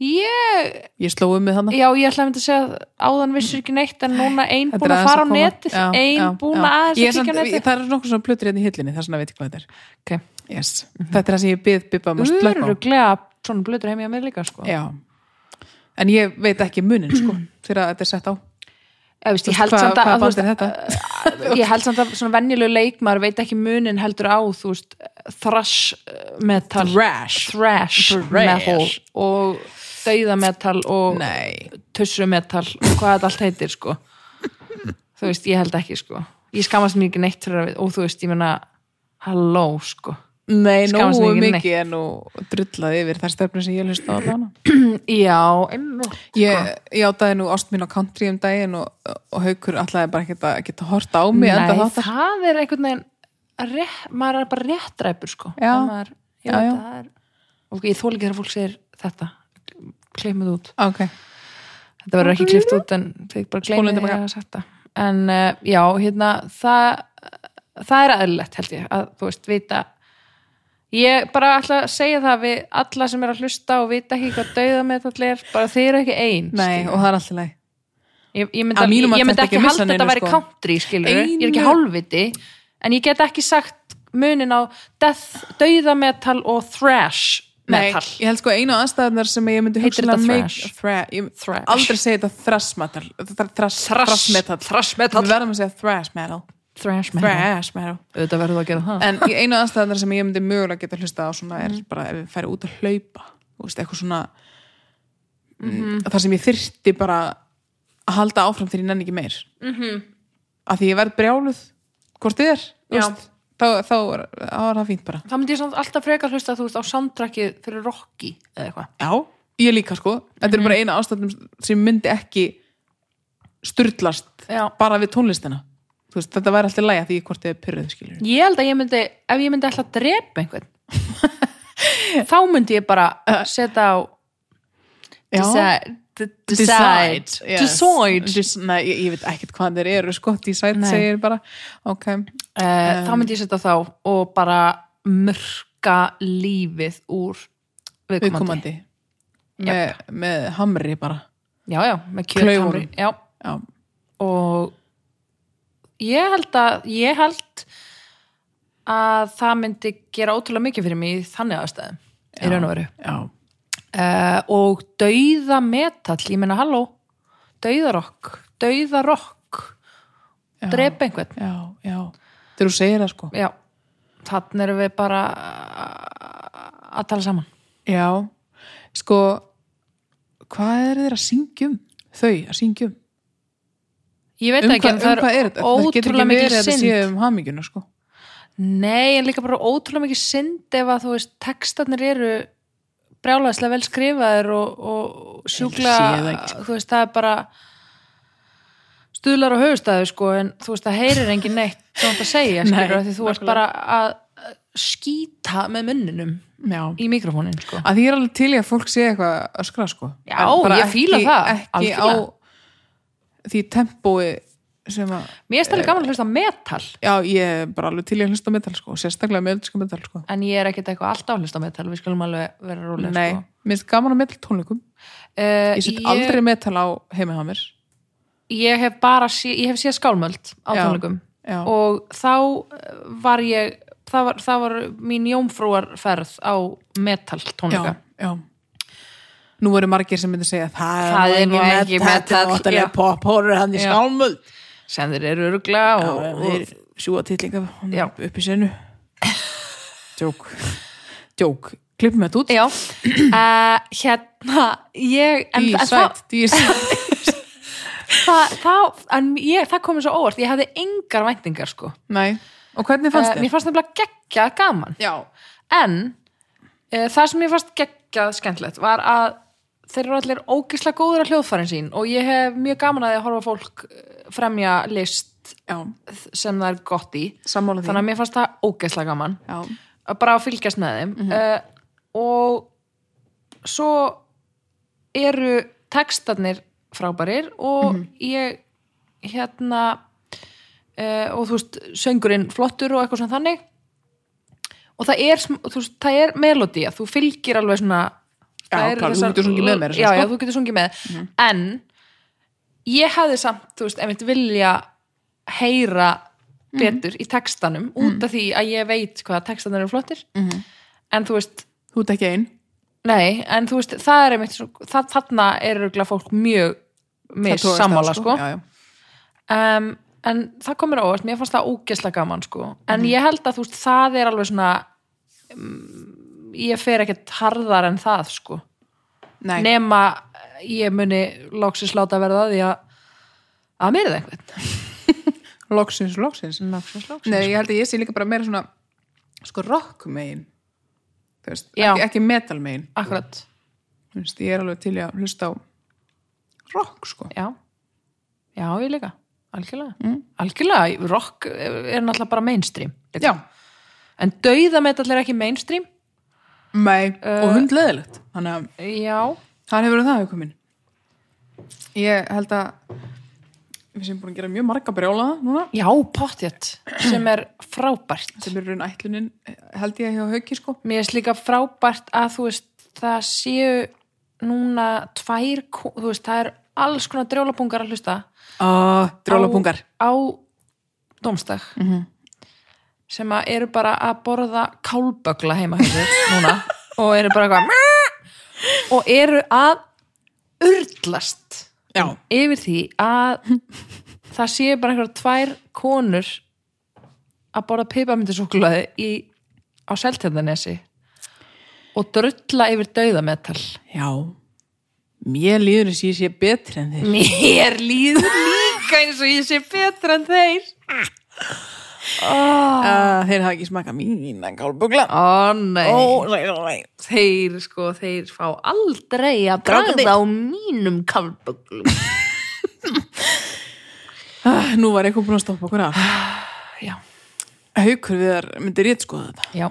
S2: ég
S1: ég sló um mig þannig
S2: já, ég ætla að mynda að segja að áðan vissur ekki neitt en núna ein
S1: Þetta
S2: búin
S1: er
S2: að
S1: aðeins
S2: fara á
S1: koma.
S2: netið
S1: Já,
S2: ein
S1: já,
S2: búin
S1: já.
S2: aðeins
S1: Ég er
S2: að kíkja á
S1: samt-
S2: netið
S1: ég- Það er nokkuð svona plötur hérna í hillinni, það er svona að veit ekki hvað þetta er
S2: okay.
S1: yes.
S2: Mhm.
S1: Þetta er það sem ég bið Bibba um að slökka á.
S2: öruglega svona blöður heim ég að mér líka sko.
S1: Já En ég veit ekki munin sko þegar þetta er sett á
S2: Mhm. ég, veist, ég
S1: Hvað
S2: held samt að,
S1: hva
S2: að þú
S1: band er
S2: veist,
S1: þetta?
S2: ég held samt að svona venjulegu leikmar veit ekki munin heldur á þú veist, thrash eh, metal
S1: Thrash
S2: thrash metal og dauðametal og
S1: Nei,
S2: tussumetal og hvað þetta allt heitir sko þú veist, ég held ekki sko ég skammast mér ekki neitt fyrir að við og þú veist, ég meina, halló sko
S1: Nei
S2: Skammast
S1: nógu
S2: mín ekki,
S1: mikið en nú drullaði yfir þær stefnir sem ég hlusta á allan
S2: já, einmitt
S1: Ég,
S2: Sko.
S1: ég áttaði nú ást mín á country um daginn og, og haukur allavega bara geta, geta horta á mig enda
S2: Nei,
S1: þáttar
S2: það er einhvern veginn rétt, maður er bara réttræpur sko
S1: Já.
S2: En maður, já,
S1: Já, já.
S2: það er og ég þóla ekki þegar fólk segir þetta kleimið út
S1: Ok,
S2: þetta verður ekki klift út en þið bara
S1: Spólum
S2: gleymið
S1: tilbaka.
S2: að sagt það en uh, já, hérna það, það er aðeinlegt held ég að þú veist, vita ég bara ætla að segja það við alla sem er að hlusta og vita ekki hvað dauða með þetta er, bara þið eru ekki ein
S1: nei
S2: skilur.
S1: og það er alltaf leið
S2: ég, ég myndi,
S1: Að mínu
S2: ég,
S1: mati
S2: ég myndi
S1: ætti ekki
S2: ekki
S1: að missa
S2: halda þetta
S1: neinu,
S2: að væri
S1: sko.
S2: country skilur, ég er ekki
S1: Einu-
S2: hálfviti en ég get ekki sagt munin á death, dauðametal og thrash
S1: Nei,
S2: metal
S1: ég held sko einu aðstæðunar sem ég myndi
S2: Heitir
S1: hugsanlega
S2: þetta
S1: make-
S2: thrash?
S1: thra- ég-
S2: Thrash.
S1: Aldrei segja þetta thrash metal Þetta er Thrash thrash metal
S2: thrash
S1: Við
S2: metal,
S1: verðum að segja thrash metal
S2: thrash metal.
S1: Thrash metal
S2: auðvitað verður það að gera það
S1: En í einu aðstæðunar sem ég myndi mögulega geta hlusta á svona er bara ef við færi út að hlaupa Þú veist, eitthvað svona
S2: Mhm.
S1: mm, Það sem ég þyrfti bara að halda áfram þegar ég nenni ekki meir mm
S2: Mhm.
S1: Af því ég verð brjáluð Hvort þið er þú
S2: Já.
S1: veist, Þá, þá er, þá er það fínt bara
S2: þá myndi ég samt alltaf frekar hlusta þú veist á soundtrackið fyrir Rocky eða eitthvað
S1: Já, ég líka sko Þetta
S2: Mhm.
S1: er bara eina ástæðum sem myndi ekki styrlast
S2: Já.
S1: bara við tónlistina Þú veist, þetta væri alltaf lægja því ég hvort þið er pyrröð skilur
S2: ég held að ég myndi, ef ég myndi alltaf að drepa einhvern þá myndi ég bara uh, setja á decide decide, decide.
S1: Des, nei, ég, ég veit ekkert hvað þeir eru sko, decide
S2: Nei.
S1: segir bara ok,
S2: Uh,
S1: Um.
S2: þá myndi ég setja þá og bara mörka lífið úr viðkomandi,
S1: viðkomandi með, með hamri bara
S2: já já, með kjöthamri
S1: Klaufunum.
S2: já.
S1: Já.
S2: og ég held að ég held að það myndi gera ótrúlega mikið fyrir mig í þannig aðstæðum í raun og veru
S1: Já.
S2: uh, og dauða metall, ég meina halló dauðarokk, dauðarokk drepa einhvern
S1: Já, já, þegar þú segir það sko
S2: já, þannig erum við bara að tala saman
S1: já, sko hvað eru þeir að syngjum þau að um? syngjum
S2: ég veit
S1: um,
S2: ekki,
S1: hva, um
S2: en það
S1: hvað er
S2: er
S1: þetta? Það getur
S2: ótrúlega
S1: ekki verið
S2: mikið
S1: að þetta
S2: synd
S1: sé um haminguna sko
S2: nei, en líka bara ótrúlega mikið synd ef að þú veist, textarnir eru brjálæðislega vel skrifaðir og, og sjúkla
S1: Ég sé það ekki, sko.
S2: þú veist, það er bara stuðlar á höfustæðu sko en þú veist, það heyrir engin neitt svona að segja,
S1: Nei,
S2: skilur, því þú ert bara að skýta með munninum
S1: Já.
S2: í mikrofónin sko
S1: að því ég er alveg til í að fólk sé eitthvað öskra sko
S2: Já,
S1: En bara
S2: ég fíla
S1: ekki,
S2: það,
S1: ekki á því tempói sem að
S2: mér er stærlega gaman að hlusta á metal
S1: já, ég er bara alveg til í að hlusta á metal sko sérstaklega með öllsku metal sko
S2: en ég er ekkert eitthvað alltaf að hlusta á metal við skulum alveg vera rólega
S1: nei,
S2: sko.
S1: mér finnst gaman á metal tónleikum
S2: uh,
S1: ég set aldrei metal á heimið á mér
S2: ég hef bara sé, ég hef séð skálmöld á
S1: Já,
S2: tónleikum
S1: já.
S2: og þá eh, var ég það var, það var mín jómfrúarferð á metal tónleika
S1: já, já Nú eru margir sem myndi segja það,
S2: Það er
S1: nú
S2: nú ekki metal,
S1: þetta er náttúrulega
S2: já.
S1: pop, horror hann í
S2: Já.
S1: skálmöld
S2: sem þeir eru örgla og,
S1: og
S2: og,
S1: þeir sjúga titlinga
S2: Já.
S1: upp í senu Jók Jók, klippum þetta út
S2: já uh, hérna ég, en, en það,
S1: Dísætt, dísætt
S2: það, það, en ég, það komið svo óvart ég hefði engar væntingar sko
S1: Nei, og hvernig fannst
S2: uh,
S1: þér?
S2: mér fannst nefnilega geggja gaman
S1: Já,
S2: en uh, það sem mér fannst geggjað skemmtilegt var að þeir eru allir ógislega góður að hljóðfærin sín og ég hef mjög gaman að því að horfa á fólk eh, fremja list
S1: já,
S2: sem það er gott í
S1: sammála því
S2: þannig að mér fannst það ógislega gaman
S1: Já,
S2: að bara að fylgjast með þeim uh, og svo eru textarnir frábærir og
S1: Mhm.
S2: ég hérna uh, og þú veist, söngurinn flottur og eitthvað svona þannig og það er, sm- þú veist, það er melodía þú fylgir alveg svona
S1: Já,
S2: það eru
S1: klart, þú getur sungið með meira að segja,
S2: já,
S1: sko. Mhm.
S2: já, þú getur sungið með en ég hefði samt, þú veist, einmitt vilja heyra
S1: Mhm.
S2: betur í textanum út af því að ég veit hvað textanir eru flottir
S1: Mhm.
S2: en þú veist,
S1: þú ert ekki einn
S2: Nei, en þú veist, það er einmitt svo, það, þarna er örgulega fólk mjög
S1: Það
S2: með
S1: togast
S2: sammála,
S1: að,
S2: sko
S1: Já, já,
S2: um, en það komur óvart, mér fannst það ógesla gaman, sko en ég held að þú veist, það er alveg svona um, ég fer ekkert harðar en það, sko
S1: nei,
S2: nema ég muni loksins láta verða að því að að mér er það einhvern
S1: loksins, loksins
S2: loksins, loksins.
S1: Nei, ég held að ég sé líka bara meira svona sko rock megin Þú veist,
S2: Já.
S1: ekki, ekki metal megin
S2: Akkurat,
S1: Þú veist, ég er alveg til í að hlusta á rock, sko
S2: já Já, ég líka, algjörlega Algjörlega, rock er náttúrulega bara mainstream líka.
S1: Já,
S2: En dauðametall er ekki mainstream?
S1: mei,
S2: Eh,
S1: og hundleðilegt Þannig að
S2: Já.
S1: Þar hefur það hefur komin Ég held að við sem búin að gera mjög marga brjólaða núna
S2: Já, pottjett, sem er frábært.
S1: sem er raun ætlunin held ég hjá hauki sko
S2: Mér er líka frábært að þú veist, það séu núna tvær, ko- þú veist, það er alls konar drjólapungar að hlusta.
S1: uh,
S2: Á, á domstag. -hmm. Sem að eru bara að borða kálbögla heima hefur núna og eru bara eitthvað "Mæ!" og eru að urlast. um,
S1: Já,
S2: yfir því að það séu bara einhverjar tvær konur að borða pipamindisúkulaði í, á seltjöndanesi og drulla yfir dauðametal
S1: já Mér líður þess að ég sé betri en þeir
S2: Mér líður líka eins og ég sé betra en þeir
S1: uh, Þeir hafa ekki smakað mína kálbugla
S2: Ó nei,
S1: nei, nei
S2: þeir sko, þeir fá aldrei að
S1: Krákandi.
S2: bræða á mínum kálböglum
S1: uh, Nú var eitthvað búin að stoppa okkur að
S2: Já,
S1: Haukur við þar myndi rétt skoða þetta
S2: já,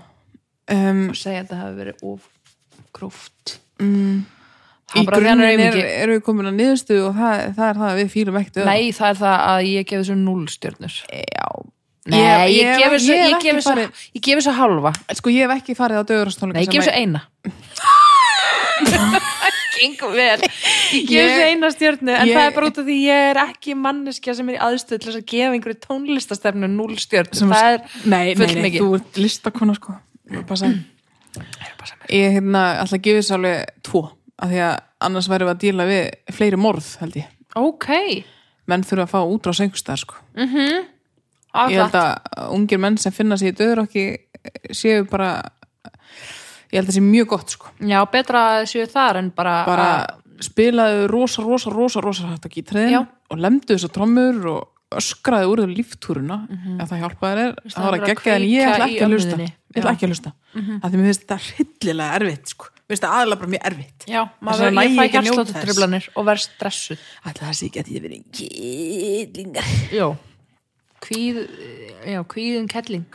S1: um,
S2: og segja að það hafi verið of gróft
S1: Í
S2: Það er bara því hann
S1: grunninn
S2: er
S1: er,
S2: aumingi
S1: erum við komin að niðurstu og það, það er það að við fýlum ekkert öðrum.
S2: Nei, það er það að ég gefi þessu núl stjörnur
S1: Já
S2: Nei, ég,
S1: Ég- ég-
S2: gefi
S1: ég hef
S2: þessu, ég,
S1: ekki
S2: gefi þessu,
S1: farið-
S2: ég gefi þessu halva
S1: Sko ég hef ekki farið á dögurastónleika
S2: Nei, ég gefi þessu eina Gengum vel Ég gefi
S1: Ég-
S2: þessu eina stjörnu En
S1: ég-
S2: það er bara út af því ég er ekki manneskja sem er í aðstöð til þess að gefa einhverju tónlistastefnu núl stjörnu
S1: sem
S2: Það er
S1: nei, nei, nei,
S2: fullmikið.
S1: þú ert listakona sko Passa. ég hérna ætla að gefa þessu alveg tvo af því að annars væri við að díla við fleiri morð held ég
S2: Ok
S1: menn þurfa að fá útrás einhverstaðar sko ég held
S2: Alla.
S1: að ungir menn sem finna sig í döður okki séu bara ég held að það sé mjög gott sko
S2: Já, betra að séu þar en bara,
S1: bara
S2: að,
S1: spilaðu rosa, rosa, rosa, rosa hægt að
S2: Ah. Já.
S1: gítriðin og lemdu þessu trommur og öskraði úr þau líftúruna
S2: Mhm.
S1: ef það hjálpaði þér, það var
S2: bara
S1: að gegja en ég
S2: kveikja
S1: ætla
S2: í Mhm.
S1: ekki að hlusta
S2: ömmuðinni.
S1: ég ætla ekki að hlusta af því mér finnst þetta hryllilega erfitt sko. mér finnst þetta aðalega bara mjög erfitt
S2: Já,
S1: Þess vegna
S2: maður,
S1: næ
S2: ég fæ
S1: ekki að njóta þess.
S2: hjartsláttutrublanir og verð stressuð
S1: ætla það sé ekki að ég verið kýlingar
S2: Já Kvíð, já, kvíðin kelling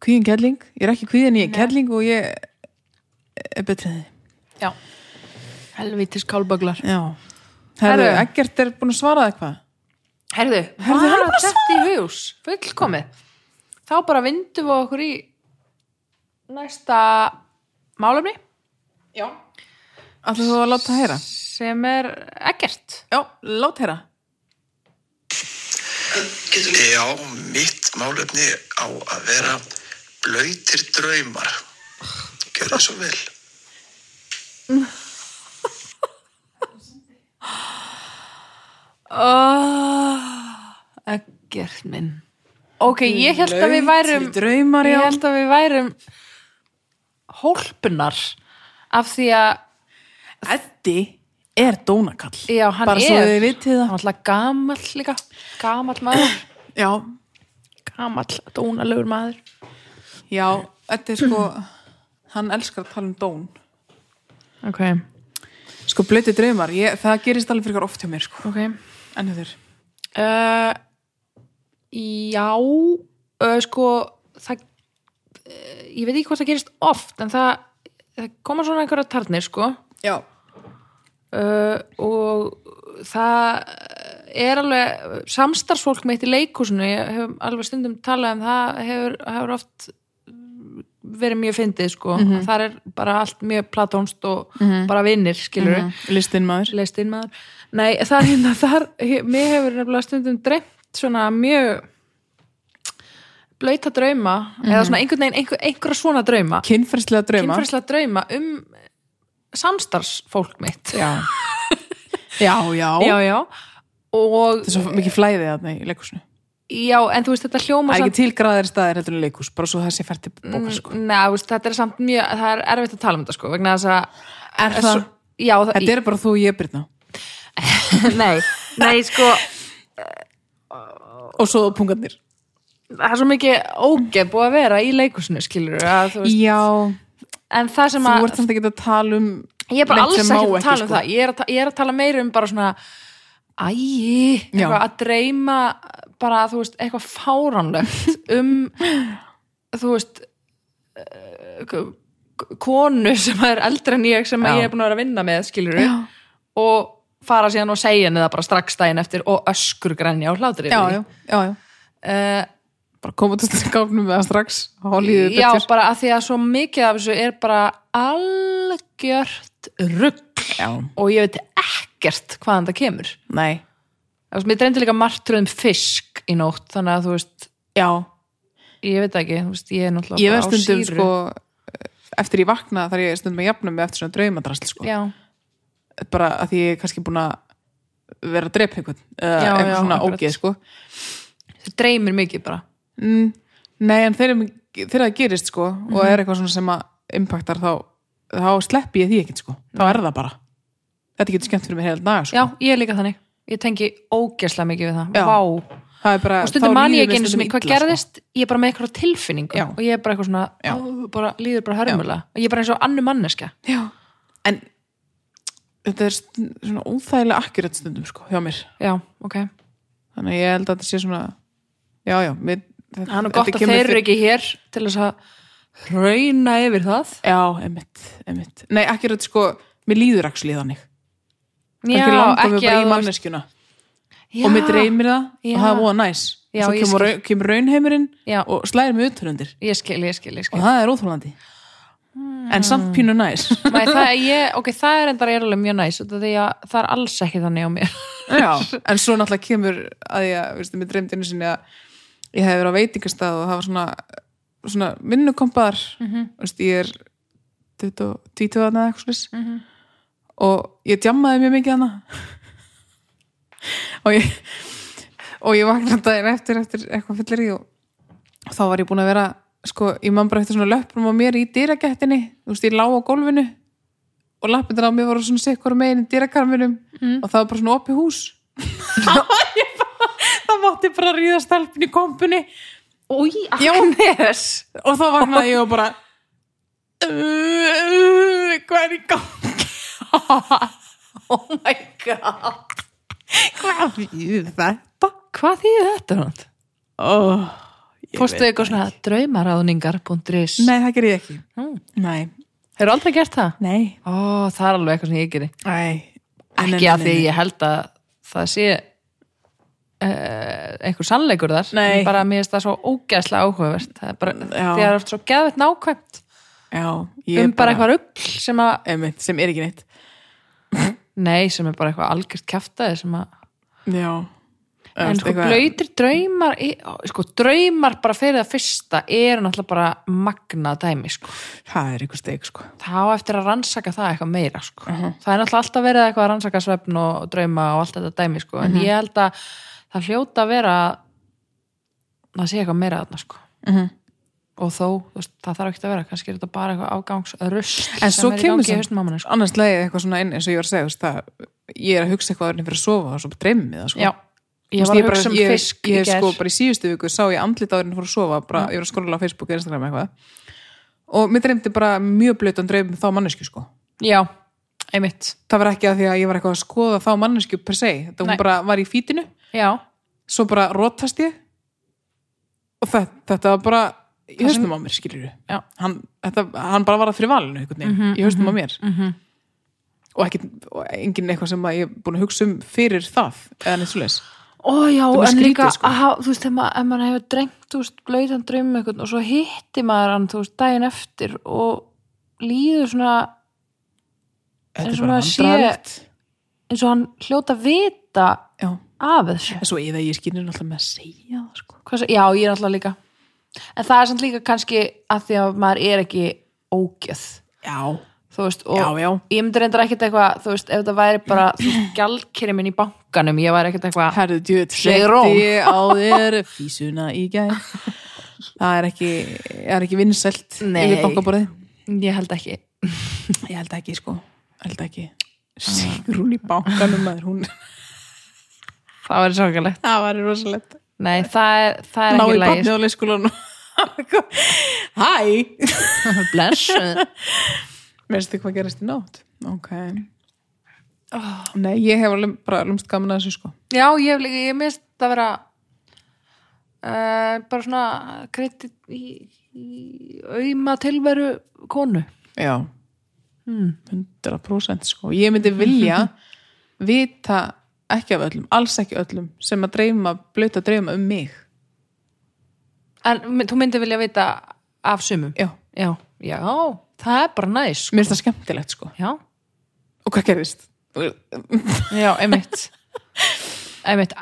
S1: kvíðin kelling, ég er ekki kvíðin, ég er kelling og ég er betrið þið
S2: Já Helvítis kálböglar
S1: já, herðu,
S2: Herðu.
S1: ekkert er búin að svara eitthvað
S2: Herðu,
S1: Herðu, hann er
S2: var
S1: bara
S2: þetta í hugus Fullkomið Þá bara vindum við okkur í næsta málefni
S1: ætla þú að láta heyra
S2: sem er ekkert
S1: já, láta heyra
S4: Getum... Já, mitt málefni á að vera blöytir draumar. Gjör það svo vel.
S2: oh,
S1: Ah,
S2: Ekkert minn Ok, ég held að við værum
S1: Blautir draumar, já.
S2: Ég held að við værum hólpunar af því að
S1: Eddi er dónakall
S2: já, hann
S1: bara
S2: er
S1: svo þið vitið
S2: Hann
S1: það
S2: er alltaf gamall líka Gamall maður
S1: já,
S2: Gamall, dónalegur maður
S1: já, Eddi er sko hann elskar að tala um dón
S2: Ok,
S1: sko blöti draumar, ég, það gerist alveg fyrir oft hjá mér sko,
S2: ok
S1: en þau þér
S2: Uh, já, uh, sko, það, uh, ég veit ekki hvað það gerist oft, en það, það koma svona einhverja tarnir, sko,
S1: já,
S2: uh, og það er alveg, samstarfsfólk mitt í leikúsinu, ég hef alveg stundum talað um það, hefur, hefur oft verið mjög fyndið, sko, mm þar er bara allt mjög platónst og bara vinnir, skilur
S1: Mhm. listin maður
S2: leist inn maður Nei, það er hérna þar he- mér hefur nefnilega stundum dreymt svona mjög blöyta drauma eða svona einhvern veginn, einhver, einhverja svona drauma
S1: kynferðslega Mhm. drauma
S2: kynfærslega drauma um samstarfsfólk mitt
S1: já. já, já,
S2: já, já.
S1: það
S2: og
S1: er svo mikið flæðið þarna í leikusinu
S2: já, en þú veist þetta
S1: það
S2: hljóma
S1: er
S2: samt- Mm,
S1: ekki tilgraðir staðir heldur en leikus bara svo það sé fært til bókar sko
S2: Nei, þú veist, þetta er samt mjög, það er erfitt að tala um þetta sko, vegna þess að
S1: Er það?
S2: Svo- Já, það,
S1: þetta er bara þú og ég Brynna
S2: nei, nei, sko
S1: og svo pungarnir
S2: það er svo mikið ógeð búið að vera í leikusinu, skilur að, þú veist,
S1: já,
S2: en það sem
S1: þú
S2: að
S1: ert samt ekki að tala um
S2: ég er bara
S1: neitt
S2: alls
S1: sem má
S2: ekki að tala um
S1: sko.
S2: það ég er, að, ta- ég er að tala meira um bara svona æi,
S1: Já.
S2: eitthvað að dreyma bara, þú veist, eitthvað fáránlegt um þú veist eh, k- k- konu sem er eldri en ég sem
S1: Já.
S2: ég er búin að vera að vinna með, skilur og fara síðan og segja henni það bara strax daginn eftir og öskur grænja og hlátri
S1: já, já, já, já
S2: já.
S1: bara koma til skápnum með það strax hálíðu
S2: já, bara að því að svo mikið af þessu er bara algjört rugg
S1: já,
S2: og ég veit ekkert hvaðan það kemur
S1: nei,
S2: Þú veist, mér dreymdi líka martröðum fisk í nótt, þannig að þú veist,
S1: já
S2: ég veit það ekki, þú veist, ég er náttúrulega
S1: ég verð
S2: bara á
S1: stundum
S2: sýru.
S1: sko eftir ég vakna þar ég stundum að jafna mig eftir svona draumadrasl sko.
S2: Já,
S1: bara að því ég er kannski búin að vera að drepa einhvern eða
S2: Já,
S1: eitthvað
S2: já,
S1: svona
S2: akkurat.
S1: ógeð sko
S2: það dreymir mikið bara.
S1: mm, nei en þegar, þegar það gerist sko
S2: Mhm.
S1: og er eitthvað svona sem að impactar þá, þá sleppi ég því ekkert sko þá er það bara þetta getur skemmt fyrir mig heilt naga
S2: Mhm. Já,
S1: sko.
S2: ég er líka þannig. Ég tengi ógeslega mikið við það.
S1: Já.
S2: Vá.
S1: það er bara,
S2: Og stundum
S1: þá
S2: man ég
S1: líður mér
S2: ekki einu
S1: stundum
S2: sinni hvað
S1: illa, sko.
S2: gerðist, ég er bara með eitthvað tilfinningu
S1: Já.
S2: og ég er bara eitthvað svona,
S1: Já.
S2: ó, bara, líður bara hörmulega. Ég er bara eins og annu manneska.
S1: Já, en þetta er stund- svona óþægilega akkurat stundum sko, hjá mér.
S2: Já, ok.
S1: Þannig að ég held að þetta sé svona já, já, mér, þetta,
S2: Það er nú gott að þeir eru ekki hér til þess að rauna yfir það.
S1: Já, emitt, emitt. Nei, akkurat sko, mér líður axli þannig.
S2: Já,
S1: ekki langar mig bara í
S2: að þú-
S1: manneskjuna
S2: Já.
S1: og mér dreymir það
S2: Já.
S1: og það er voða næs.
S2: Já,
S1: Svo
S2: ég
S1: kemur, raun, kemur raunheimurinn
S2: Já.
S1: og slæðir mig utrundir
S2: Ég skil, ég skil, ég skil.
S1: og það er óþólandi.
S2: Hmm.
S1: En samt pínu næs.
S2: Nei, það, ég, ok, það er endar erulega mjög næs út af því að það er alls ekki þannig á mér
S1: Já, en svo náttúrulega kemur að ég, veistu, mér dreymdi einu sinni að ég hef verið á veitingastað og það var svona, svona vinnukompaðar veistu, ég er 22 aðna eitthvað slis og ég djammaði mjög mikið hana og ég og ég vaknaði daginn eftir eftir eitthvað fyllir í og, og þá var ég búin að vera sko, ég man bara eftir svona löprum á mér í dýragettinni, þú veist, ég lá á gólfinu og lappindir á mér voru svona sikkur megin í dýrakarminum og það var bara svona opið hús það mátti bara ríða stelpun í kompunni
S2: Új, Agnes
S1: og þá vaknaði ég og bara "Uh, uh, hvað er í gangi
S2: Oh my god
S1: hvað fyrir þetta
S2: Hvað þýði þetta nátt?
S1: oh,
S2: Fórstu eitthvað svona draumaráðningar.is
S1: nei það gerir ég ekki
S2: Mm.
S1: nei,
S2: Hefur aldrei gert það?
S1: nei
S2: Ó, það er alveg eitthvað sem ég gerir
S1: Æ,
S2: Ekki að því ég held að það sé uh, einhver sannleikur þar
S1: Nei.
S2: En bara mér finnst það svo ógæðslega áhugavert það er bara,
S1: Já.
S2: því það er oft svo geðvett nákvæmt
S1: já, ég
S2: um bara eitthvað rugl sem að
S1: einmitt, sem er ekki neitt
S2: Nei, sem er bara eitthvað algjört kjaftaði sem að
S1: já,
S2: en
S1: veist,
S2: sko
S1: eitthvað-
S2: blöytir draumar í- ó, sko draumar bara fyrir það fyrsta eru náttúrulega bara magna dæmi sko
S1: Það er ykkur steik sko
S2: þá eftir að rannsaka það eitthvað meira sko.
S1: Mhm.
S2: það er náttúrulega alltaf verið eitthvað að rannsaka svefn og drauma og allt þetta dæmi sko.
S1: Mhm.
S2: en ég held að það hljóta að vera að það sé eitthvað meira þarna sko.
S1: Mhm.
S2: og þó, þú veist, það þarf ekki að vera kannski er þetta bara eitthvað afgangsrust
S1: En
S2: sem
S1: svo
S2: er í
S1: kemur
S2: gangi í
S1: samt-
S2: hausnum á manni, sko.
S1: Annars leiði eitthvað svona inn eins og ég var að segja þú veist, það, Ég er að hugsa eitthvað að fyrir að sofa og svo dreymi mig það sko Þú
S2: já, ég
S1: veist,
S2: var að
S1: bara-
S2: hugsa um
S1: ég-
S2: fisk
S1: Ég
S2: í
S1: hef
S2: gær
S1: sko bara í síðustu viku sá ég andlit áðurinn fór að sofa bara, ég var að skrolla á Facebook og Instagram eitthvað og mér dreymdi bara mjög blötan dreymum þá mannesku sko
S2: já, einmitt
S1: það var ekki að því að ég var eitthvað að skoða þá mannesku per se, þetta
S2: Nei.
S1: hún bara var í fítinu
S2: já,
S1: svo bara rótast ég og þetta, þetta var bara í höstum á mér skilur
S2: Já.
S1: hann, þetta, hann bara var að fyrir valinu einhvern veginn, í höstum á mér
S2: mhm.
S1: og, ekki, og engin eitthvað sem að ég er búin að hugsa um fyrir það eða neitt svo leis
S2: Ó já,
S1: er mjög
S2: en
S1: skrítið,
S2: líka,
S1: sko.
S2: aha, þú veist, ef maður, ef maður hefur drengt, þú veist, blöytan draum með eitthvað og svo hitti maður hann, þú veist, daginn eftir og líður svona,
S1: þetta
S2: En
S1: er
S2: svona
S1: bara
S2: að sé-
S1: handraðlegt
S2: eins og hann hljóta vita
S1: já,
S2: af þessu.
S1: en svo eða ég skynir náttúrulega með að segja það sko
S2: Hvað, svo- já, ég er alltaf líka. En það er samt líka kannski að því að maður er ekki ógjöð,
S1: já,
S2: þú veist, og
S1: já, já,
S2: ég myndi reyndar ekkert eitthvað, þú veist, ef það væri bara, þú veist, gjaldkerri minn í bankanum, ég væri ekkert eitthvað,
S1: herðu djöð
S2: Sigrún.
S1: ég á þér físuna í gæð það er ekki, er ekki vinsælt
S2: Nei.
S1: yfir bankaborðið
S2: ég held ekki.
S1: Ég held ekki, sko. Ah. Held ekki. Sigrún í bankanum maður, hún.
S2: Það væri svakalegt.
S1: Það var rosalegt.
S2: Nei, það er, það er
S1: Ná
S2: ekki
S1: í
S2: lægis.
S1: barnið á leikskólanum. Hæ!
S2: Blessuð.
S1: Veistu hvað gerist í nótt? Ah. Ok. Nei, ég hef alveg bara lumst gaman að þessu, sko.
S2: Já, ég hef líka, ég mist að vera uh, bara svona kredit í, í auðma tilveru konu.
S1: Já. 100% Hmm, sko. Ég myndi vilja vita ekki af öllum, alls ekki öllum sem að dreyma, blöta að dreyma um mig.
S2: En my- þú myndi vilja vita af sumum.
S1: Já.
S2: Já, já, það er bara næs. Sko.
S1: Mér finnst það skemmtilegt, sko.
S2: Já,
S1: Og hvað gerist?
S2: já, einmitt. einmitt,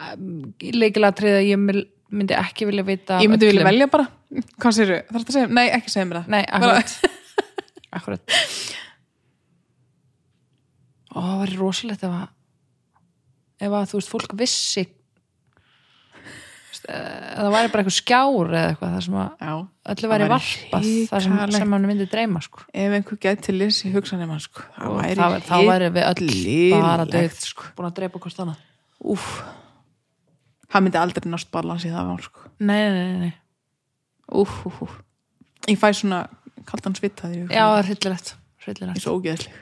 S2: leikilega treyða ég myl- myndi ekki vilja vita af
S1: Ég myndi vilja
S2: öllum.
S1: velja bara. Hvað sérðu? Þarf þetta að segja? Nei, ekki segja mér það.
S2: Nei,
S1: Bara-
S2: akkurat. akkurat. Ó, það var rosalegt ef að, ef að þú veist, fólk vissi þú veist, eh, það væri bara eitthvað skjár eða eitthvað, það sem að
S1: Já.
S2: öllu
S1: Það
S2: væri
S1: væri
S2: varpað það sem,
S1: hrikalegt.
S2: sem hann myndi dreyma sko.
S1: Ef einhver gæti lýsi hugsanum hans, sko. Það
S2: og
S1: væri
S2: það, væri- þá væri við öll bara
S1: hrikalegt,
S2: dögt sko. búin að dreypa hvort annað
S1: Úf. Það myndi aldrei nást balans í það var, sko.
S2: nei, nei, nei, nei.
S1: Úf, úf, úf. Ég fæ svona kaldan svita því.
S2: já, það er hryllilegt,
S1: Ég er
S2: hryllilegt.
S1: svo ógeðsleg.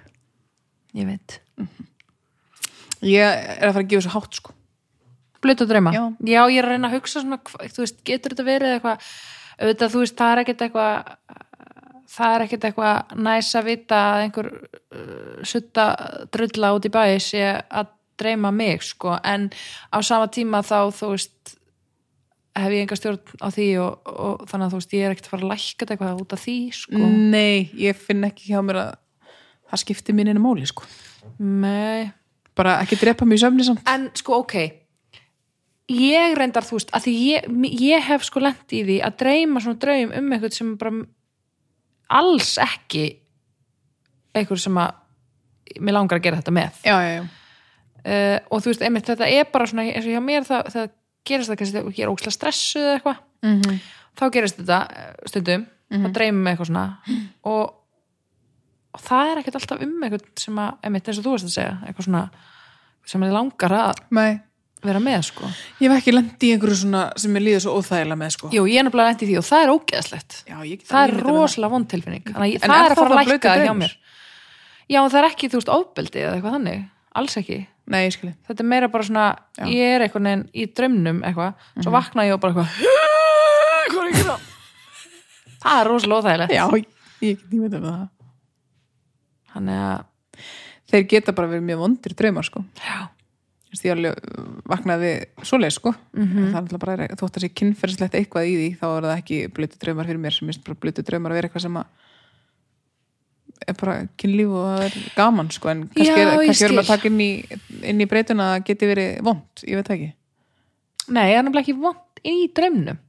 S2: ég veit
S1: Ég er að fara að gefa svo hátt, sko.
S2: blötu að drauma
S1: Já.
S2: ég er að reyna að hugsa svona hva- þú veist, getur þetta verið eitthvað auðvitað, þú veist, það er ekkert eitthvað það er ekkert eitthvað næs að vita að einhver uh, sutta drulla út í bæi sé að dreyma mig, sko en á sama tíma þá, þú veist hef ég enga stjórn á því og, og þannig að þú veist, ég er ekkert að fara að lækka þetta eitthvað út af því, sko
S1: Mm. Nei, ég finn ekki hjá mér að það skiptir mín einu máli, sko.
S2: Nei.
S1: Bara ekki drepa mig í sömni samt.
S2: en sko ok ég reyndar þú veist að því ég, ég hef sko lent í því að dreyma svona draum um eitthvað sem bara alls ekki eitthvað sem að mér langar að gera þetta með
S1: Já, já, já.
S2: uh, og þú veist, einmitt þetta er bara svona eins og hjá mér það, það gerist það kannski þegar ég er ókslega stressuð eða eitthvað
S1: Mm -hmm.
S2: þá gerist þetta eh, stundum mm -hmm. það dreymum eitthvað svona og, og það er ekkert alltaf um eitthvað sem að, einmitt eins og þú veist að segja eitthvað svona sem ég langar að
S1: Nei.
S2: vera með sko
S1: Ég hef ekki lendi í einhverju svona sem mér líður svo óþægilega með, sko.
S2: Jú, ég er nefnilega nætti því og það er ógeðslegt
S1: Já, ég get alveg
S2: það er
S1: ímyndað mér
S2: rosalega vond tilfinning þannig að ég-
S1: En er
S2: það er
S1: það
S2: að fara
S1: þá
S2: að
S1: blautur
S2: lækka hjá
S1: draumur?
S2: mér Já, en það er ekki, þú veist, ofbeldi eða eitthvað þannig alls ekki,
S1: Nei, ég skilji.
S2: þetta er meira bara svona
S1: Já. Mhm.
S2: ég er einhvern veginn í draumnum eitthvað svo vakna ég og bara eitthvað hvað er ekki það? það er rosalega óþægilegt
S1: Já, ég- ég get ímyndað með það.
S2: þannig að,
S1: Þeir geta bara verið mjög vondir draumar, sko.
S2: já,
S1: Þú veist, ég alveg uh, vaknaði svoleið, sko.
S2: Mhm.
S1: Það er alltaf bara, þótt að sé kynferðislegt eitthvað í því, þá er það ekki blötu draumar fyrir mér, sem er bara blötu draumar að vera eitthvað sem að er bara kynlíf og það er gaman, sko. En kannski,
S2: Já,
S1: er,
S2: ég
S1: kannski erum við að
S2: skil.
S1: taka inn í, inn í breytuna að það geti verið vond, ég veit það ekki.
S2: Nei, það er nefnilega ekki vond í draumnum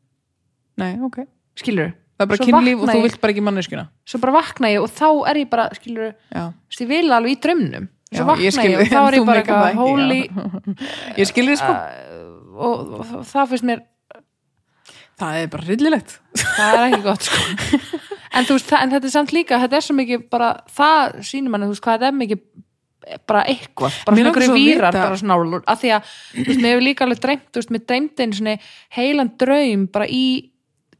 S1: Nei, ok.
S2: Skilur
S1: Það er bara kynlíf og þú vilt bara ekki manneskuna.
S2: Svo bara vakna ég og þá er ég bara, skilur
S1: Já.
S2: Ég vil alveg í draumnum Svo
S1: Já,
S2: vakna
S1: ég
S2: ég,
S1: skil
S2: og
S1: þig,
S2: þá
S1: en
S2: er
S1: þú
S2: ég bara
S1: meikar það
S2: eitthvað
S1: ekki,
S2: holy
S1: Ég skilði þið sko.
S2: og, og, og það finnst mér
S1: Það er bara rillilegt.
S2: það er ekki gott sko. en, þú veist, það, en þetta er samt líka þetta er svo mikið bara, það sýnir manni þú veist hvað þetta er mikið bara eitthvað, bara
S1: Mér
S2: svona
S1: langar
S2: einhverju
S1: svo að
S2: vírar
S1: vita-
S2: bara svona álur, af því að þú veist, mér hefur líka alveg dreymt, þú veist, mér dreymdi einu svona heilan draum bara í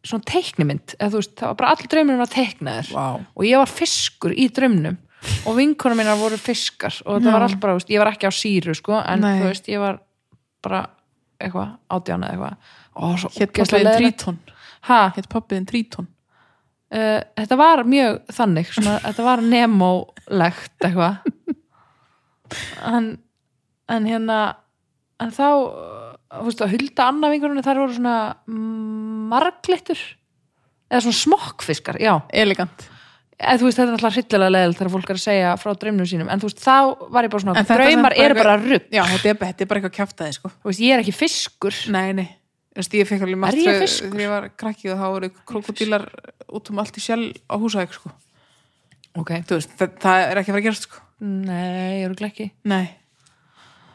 S2: svona teiknimynd, eða þú veist, það var bara allir draumurinn var teiknaður
S1: Vá.
S2: og ég var fiskur í draumnum og vinkonum minna voru fiskar og þetta var allt bara, þú veist, ég var ekki á síru sko, en
S1: Nei.
S2: þú veist, ég var bara eitthvað, átjána eitthvað og svo
S1: Hétt
S2: ógeðslega
S1: pappiðin
S2: leiðilegt.
S1: Tríton.
S2: Ha?
S1: Hétt pappiðin Tríton.
S2: uh, þetta var mjög þannig svona, þetta var nemólegt eitthvað en, en hérna en þá uh, þú veist, að hulda annað vingurinni þar voru svona mm, marglittur eða svona smokkfiskar, já
S1: Elegant.
S2: eða þú veist, þetta er alltaf hryllilega leðil þegar fólk er að segja frá draumnum sínum, en þú veist, þá var ég bara svona
S1: En þetta er
S2: draumar
S1: samt bara
S2: eru bara
S1: eitthvað-
S2: rugg
S1: Já, þetta er, þetta er bara eitthvað kjaftaði sko.
S2: þú veist, ég er ekki fiskur
S1: Nei, nei. Þú veist, ég fekk alveg
S2: Er
S1: margt
S2: ég
S1: þegar
S2: fiskur?
S1: þegar ég var krakkið og þá voru krokodílar út um allt í sjálf á húsæk sko.
S2: ok,
S1: Þú veist, það, það er ekki að fara að gerast sko.
S2: nei, ég eru ekki
S1: Nei.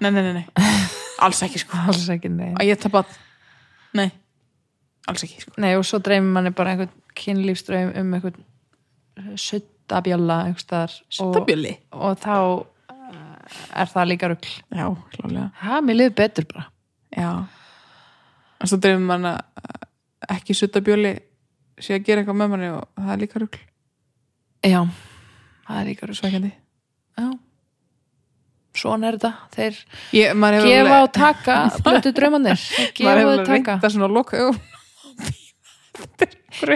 S1: Nei, nei, nei, nei. Alls ekki sko.
S2: alls ekki, nei
S1: Að ég tappa Nei. Alls ekki sko.
S2: Nei, og svo dreymir manni bara einhvern kynlífsdraum um einhvern eh, suttabjalla einhvers staðar og,
S1: Stabjöli.
S2: og þá eh, er það líka rugl.
S1: Já, klálega.
S2: Ha, mér liður betur bara.
S1: Já. En svo dreifum mann að ekki sutta bjöli sé að gera eitthvað með manni og það er líka rugl.
S2: Já, það er líka rugl.
S1: Svækjandi.
S2: Já. Svona er þetta. Þeir
S1: Ég, maður hefur
S2: gefa
S1: alveg-
S2: og taka blötu draumanir. Þeir
S1: maður
S2: Gefa
S1: hefur
S2: og
S1: alveg reynt
S2: taka.
S1: það svona að loka augun.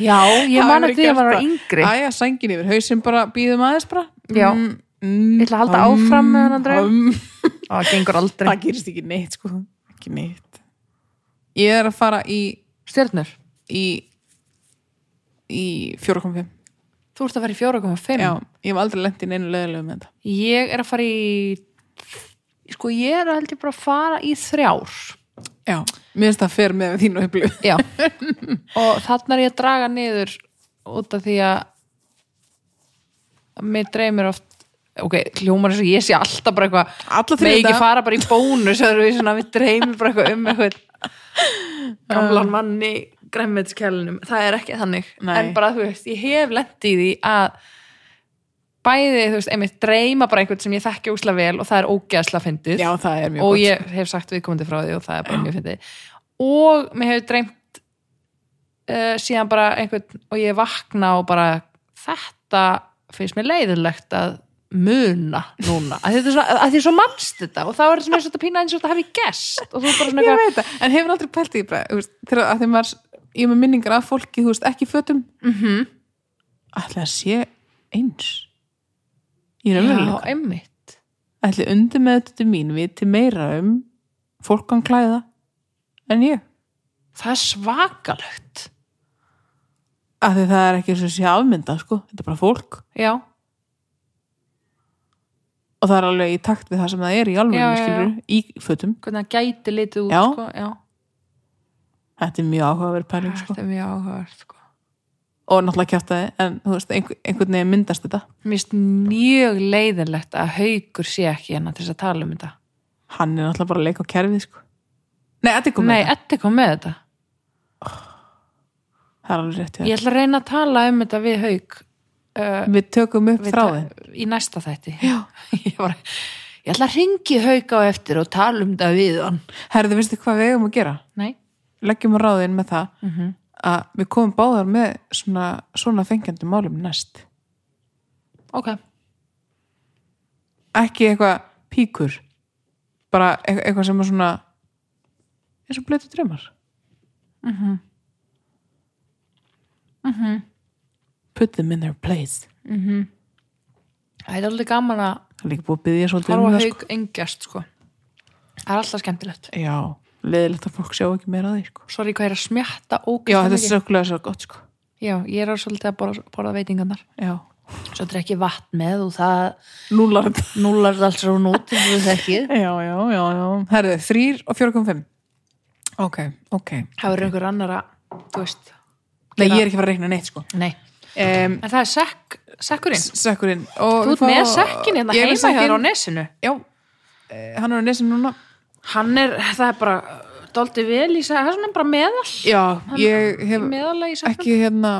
S2: Já, ég
S1: Það
S2: man
S1: hefur
S2: að því að
S1: gert
S2: maður var
S1: það.
S2: yngri.
S1: Æja, sængin yfir hausinn bara, býðum aðeins bara.
S2: Já.
S1: Mm, mm,
S2: Ég ætla að halda áfram með þennan draum.
S1: um.
S2: Það gengur aldrei.
S1: Það gerist ekki neitt, sko. Ekki neitt. Ég er að fara í,
S2: Stjörnur,
S1: í, í 4.5.
S2: þú ert að fara í 4,5.
S1: Já, ég hef aldrei lent í neinu leðilegu með þetta.
S2: Ég er að fara í sko ég er að held ég bara að fara í þrjár
S1: Já, mér finnst það fer með þínu upplöfu.
S2: já og þarna er ég að draga niður út af því að mér dreymir oft ok, hljómar þess að ég sé alltaf bara eitthvað
S1: Alla
S2: með
S1: þriðjudaga.
S2: ekki fara bara í bónus þegar við svona við dreymir bara eitthvað um eitthvað gamlan manni gremmetskellinum, það er ekki þannig
S1: Um. Nei.
S2: en bara þú veist, ég hef lent í því að bæði, þú veist, einmitt dreyma bara einhvern sem ég þekki úsla vel og það er ógeðsla fyndið
S1: Já, það er mjög
S2: og
S1: gott.
S2: ég hef sagt viðkomandi frá því og það er bara mjög fyndið og mér hefur dreymt uh, síðan bara einhvern og ég vakna og bara þetta finnst mér leiðilegt að muna núna að þetta er svona, að því svo mannst þetta og þá er svona eins og þetta pína eins og þetta hafi gest og þú er bara svona
S1: ég
S2: eitthvað
S1: veit það, en hefur aldrei pælt í því bara, þú veist, þegar að þegar maður ég er með minningar af fólki, þú veist, ekki í fötum mm
S2: "Mhm."
S1: -hmm. ætli að sé eins ég er
S2: Já,
S1: alveg
S2: einmitt
S1: ætli undir með þetta mín viti meira um fólkan klæða en ég,
S2: það er svakalegt
S1: af því það er ekki eins og sé afmynda, sko, þetta er bara fólk
S2: já,
S1: og það er alveg í takt við það sem það er í
S2: Já,
S1: alveg,
S2: já, já.
S1: skilur, í fötum
S2: hvernig það gæti litið út
S1: Já.
S2: sko, já.
S1: þetta er mjög áhugaverð pæling, sko
S2: þetta er mjög áhugavert sko.
S1: og náttúrulega kjátaði, en þú veist, einhver, einhvern veginn myndast þetta,
S2: mér finnst mjög leiðilegt að haukur sé ekki hérna til þess að tala um þetta
S1: hann er náttúrulega bara að leika á kerfið, sko Nei, þetta er komið
S2: Nei, Eddi kom með þetta
S1: Það er alveg rétt, já.
S2: Ég ætla að reyna að tala um þetta við haug
S1: Við tökum upp
S2: við
S1: þráðin.
S2: ta- í næsta þætti ég, var, ég ætla að ringi haug á eftir og tala um þetta við hann
S1: Herðu, veistu hvað við eigum að gera?
S2: Nei,
S1: Leggjum á ráðin með það
S2: Mhm.
S1: að við komum báðar með svona, svona fengjandi málum næst.
S2: ok
S1: Ekki eitthvað píkur. Bara eit- eitthvað sem er svona eins og blötu drömmar. Mm -hmm.
S2: Mhm.
S1: Put them in their place.
S2: Það er aldrei gaman að
S1: Það er líka búið að byggja svolítið um
S2: horfa á
S1: það. Sko.
S2: haug engjast sko. Það er alltaf skemmtilegt
S1: Já, leðilegt að fólk sjá ekki meira að því, sko.
S2: Sorry hvað ég er að smjatta
S1: Já,
S2: ógeðslega
S1: þetta er
S2: mikið.
S1: sökulega svo gott, sko.
S2: Já, ég er á svolítið að borða, borða veitingarnar
S1: Já.
S2: Svo þetta er ekki vatn með og það
S1: Núlar þetta.
S2: núlar það alls rún út eins og þú þekkið
S1: Já, já, já, já. Herðu, þrýr og 4.5 ok, ok
S2: Það verður einhver annar að, þú veist
S1: Nei,
S2: Hérna-
S1: ég er ekki að fara að reikna neitt sko
S2: Nei,
S1: um,
S2: en það er sekk, sekkurinn
S1: Sekkurinn og
S2: Þú ert
S1: fá-
S2: með sekkin hérna
S1: Ég er með
S2: heima hér á
S1: sekkinn.
S2: nesinu
S1: Já, eh, hann er á nesinu núna
S2: Hann er, það er bara Dóldi vel í sekk, það er svona bara meðal
S1: Já,
S2: Hann-
S1: ég hef
S2: Meðalega í sekknum
S1: ekki hérna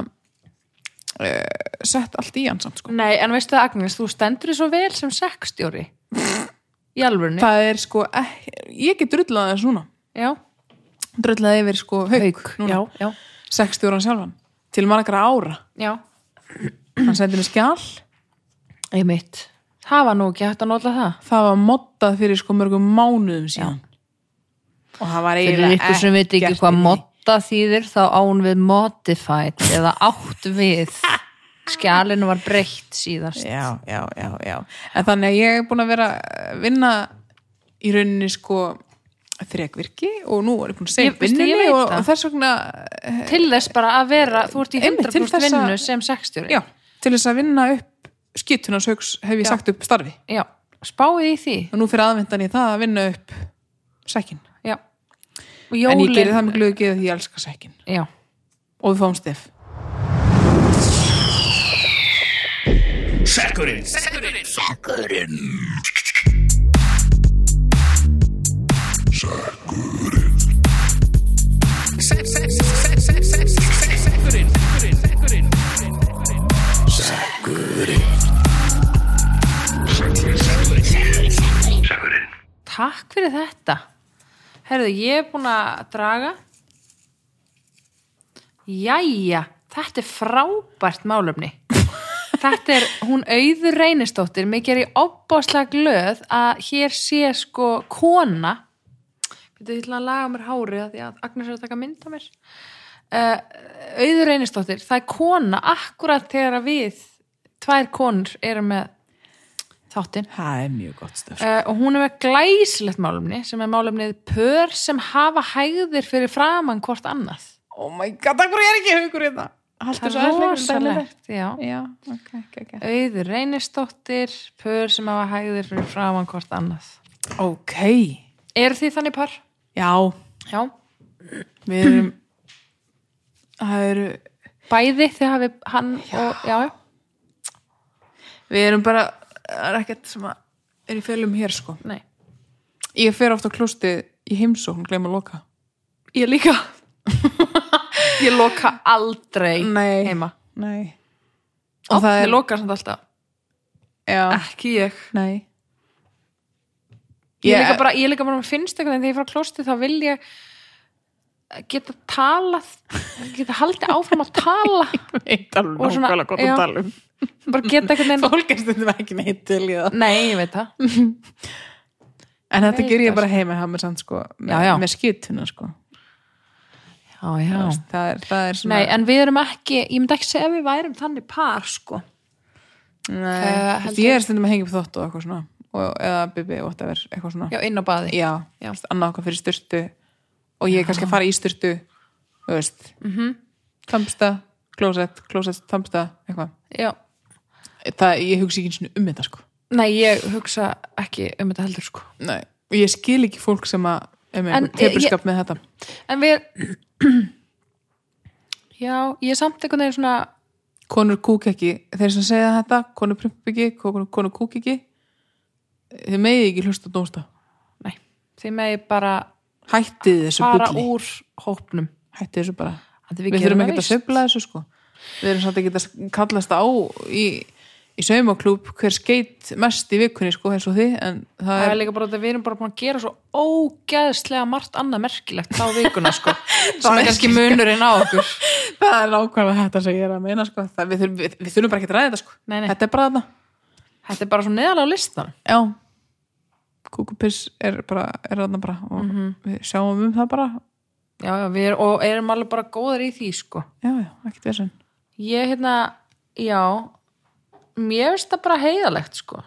S1: uh, sett allt í hann samt sko
S2: Nei, en veistu það Agnes, þú stendur þig svo vel sem sekkstjóri Í alvörni
S1: Það er sko, eh, ég get drullað þess núna
S2: Já,
S1: drullað yfir sko haug,
S2: já,
S1: núna,
S2: já,
S1: sekstjóran sjálfan til margra ára,
S2: já
S1: hann sendi mér skjál
S2: Einmitt Það var nú ekki hægt að nota það
S1: það var moddað fyrir sko mörgum mánuðum síðan og það var
S2: Fyrir ykkur sem veit ekki
S1: ekkert
S2: hvað
S1: inn í.
S2: modda þýðir þá án við modified eða átt við skjálinu var breytt síðast
S1: já, já, já, já en þannig að ég er búin að vera að vinna í rauninni sko þrekvirki og nú er ég búin að segja
S2: Ég-
S1: upp
S2: veistu, ég
S1: vinnunni
S2: veit
S1: og,
S2: það.
S1: og þess vegna eh,
S2: Til þess bara að vera, þú ert í
S1: Einmitt, til
S2: 100%
S1: þess að-
S2: vinnu sem sekstjóri
S1: já, til þess að vinna upp skýtunars haugs hef ég sagt upp starfi
S2: já, spáið í því
S1: og nú fyrir aðvendan ég það að vinna upp sækin,
S2: Já Og
S1: en
S2: jólin
S1: ég gerir það með glöðu að ég elska sækin
S2: Já,
S1: og við fáum stef
S5: Sekkurinn
S2: takk fyrir þetta Herðu, ég er búin að draga Jæja, þetta er frábært málefni Þetta er, hún auður reynistóttir mér gerir opbáslega glöð að hér sé sko kona Þetta ég ætla að laga mér hárið að því að Agnes er að taka mynd á mér uh, Auður reynistóttir, það er kona akkurat þegar að við tvær konur erum með þáttinn
S1: það er mjög gott stef
S2: Uh, og hún er með glæsilegt málumni sem er málumnið pör sem hafa hægðir fyrir framann hvort annað
S1: oh my god, það er ég ekki haugur í það Haltu
S2: það
S1: svo
S2: er
S1: aðeins lengur en daglega.
S2: rosalegt já.
S1: Já, ok, ok, ok
S2: auður reynistóttir pör sem hafa hægðir fyrir framann hvort annað
S1: Ok,
S2: eru þið þannig par?
S1: já,
S2: já,
S1: Við erum það eru
S2: bæði þið hafi hann og já, já,
S1: við erum bara það er ekkert sem að er í fjölum hér sko
S2: nei
S1: Ég fer ofta klústi í heimsókn gleym að loka
S2: ég líka ég loka aldrei
S1: Nei.
S2: heima
S1: Nei
S2: og
S1: það er-
S2: ég loka samt alltaf
S1: Já,
S2: ekki ég
S1: nei
S2: Ég,
S1: Ég-
S2: er líka bara, ég er líka bara, mér finnst einhvern veginn þegar ég fara að klósti þá vil ég geta talað geta haldið áfram að tala
S1: Eitt alveg
S2: Og svona- nákvæmlega gott að já. tala
S1: um
S2: bara geta einhvern veginn
S1: Fólk er stundum ekki neitt til í það
S2: Nei, ég veit það
S1: En þetta
S2: Veit
S1: ger ég
S2: það,
S1: bara heima hjá mér samt sko með,
S2: Já, já.
S1: með skýtuna sko
S2: já, já.
S1: það er, það er svona
S2: Nei, en við erum ekki, ég myndi ekki segja að við værum þannig par sko
S1: Nei, Þú
S2: Eh,
S1: veist,
S2: heldur-
S1: Ég er stundum að hengja upp þótt og eitthvað svona og, eða bibi, whatever, eitthvað svona
S2: Já, inn á baði
S1: já,
S2: Já.
S1: já. annað okkar fyrir styrtu og ég er kannski að fara í styrtu þú veist mm -hmm.
S2: Mhm.
S1: thamsta, klósett, klósett, thamsta eitthvað,
S2: Já.
S1: það, ég hugsi ekki einu sinni um þetta sko,
S2: Nei, ég hugsa ekki um þetta heldur sko
S1: nei, og ég skil ekki fólk sem að, um
S2: En,
S1: eitthvað, tepurskap með þetta
S2: En við Já, ég er samt einhvern veginn svona
S1: konur kúk ekki, þeir sem segja þetta konur prump ekki, konur, konur kúk ekki þið megið ekki hlusta og dósta
S2: Nei, því megi bara
S1: hættið þessu
S2: fara
S1: bulli,
S2: úr hópnum
S1: hættið þessu bara
S2: Að
S1: við,
S2: gerum
S1: þurfum
S2: það
S1: ekki að
S2: víst.
S1: söfla þessu sko við erum samt ekki að kallast á í, í saumaklúb hver skeit mest í vikunni sko eins og þið en það
S2: Það er
S1: er,
S2: líka bara að við erum bara búin að gera svo ógeðslega margt annað merkilegt þá vikuna sko sem
S1: Það
S2: er
S1: er
S2: kannski munurinn á okkur
S1: það er nákvæmlega þetta sem ég er að meina sko það, við, þurfum, við, við þurfum bara ekki að ræða þetta sko
S2: Nei, nei.
S1: þetta er bara þetta
S2: Þetta er bara svo neðalega á listan
S1: já kúkupiss er bara, er þarna bara og
S2: Mhm.
S1: við sjáum um það bara
S2: Já, já, við erum, og erum alveg bara góðar í því sko
S1: já, já, ekkert vesen
S2: Ég hérna, já mér finnst það bara heiðalegt sko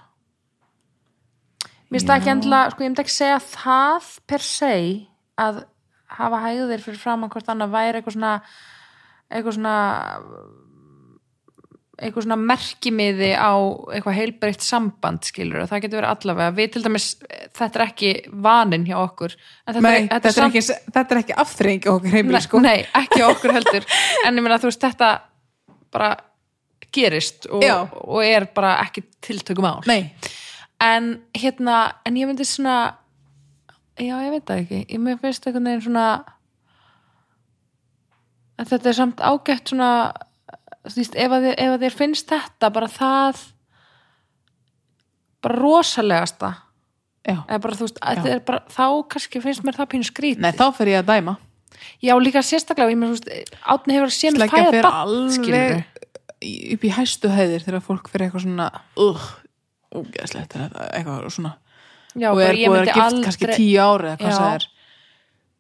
S2: Mér finnst það ekki endilega, sko ég myndi ekki segja það per se að hafa hægðir fyrir framan hvort annað væri eitthvað svona eitthvað svona eitthvað svona merkimiði á eitthvað heilbreytt samband skilur og það getur verið allavega við til dæmis, þetta er ekki vanin hjá okkur en þetta,
S1: Nei,
S2: er,
S1: þetta, er
S2: samt-
S1: ekki, þetta er ekki aftrengja okkur heimili
S2: nei,
S1: sko.
S2: nei, ekki hjá okkur heldur en ég meina þú veist, þetta bara gerist og,
S1: Já.
S2: og er bara ekki tiltökum á
S1: Nei.
S2: en hérna, en ég myndi svona já, ég veit það ekki ég mér finnst einhvern veginn svona að þetta er samt ágætt svona þú veist, ef að, þér- ef að þér finnst þetta bara það bara rosalegasta
S1: Já.
S2: eða bara þú veist, að
S1: Já.
S2: þetta er bara, þá kannski finnst mér það pínu skrítið
S1: Nei, þá fer ég að dæma
S2: já, líka sérstaklega, ég mér þú veist átni hefur séð mér
S1: Sleggja
S2: fæða
S1: fer
S2: barn, skilurðu.
S1: alveg í- upp í hæstu hæðir þegar fólk fer eitthvað svona uh, ógeðslegt er þetta, eitthvað svona
S2: já,
S1: og
S2: bara
S1: er
S2: ég
S1: búið að
S2: myndi
S1: gift kannski tíu ári eða hvað
S2: Já.
S1: það er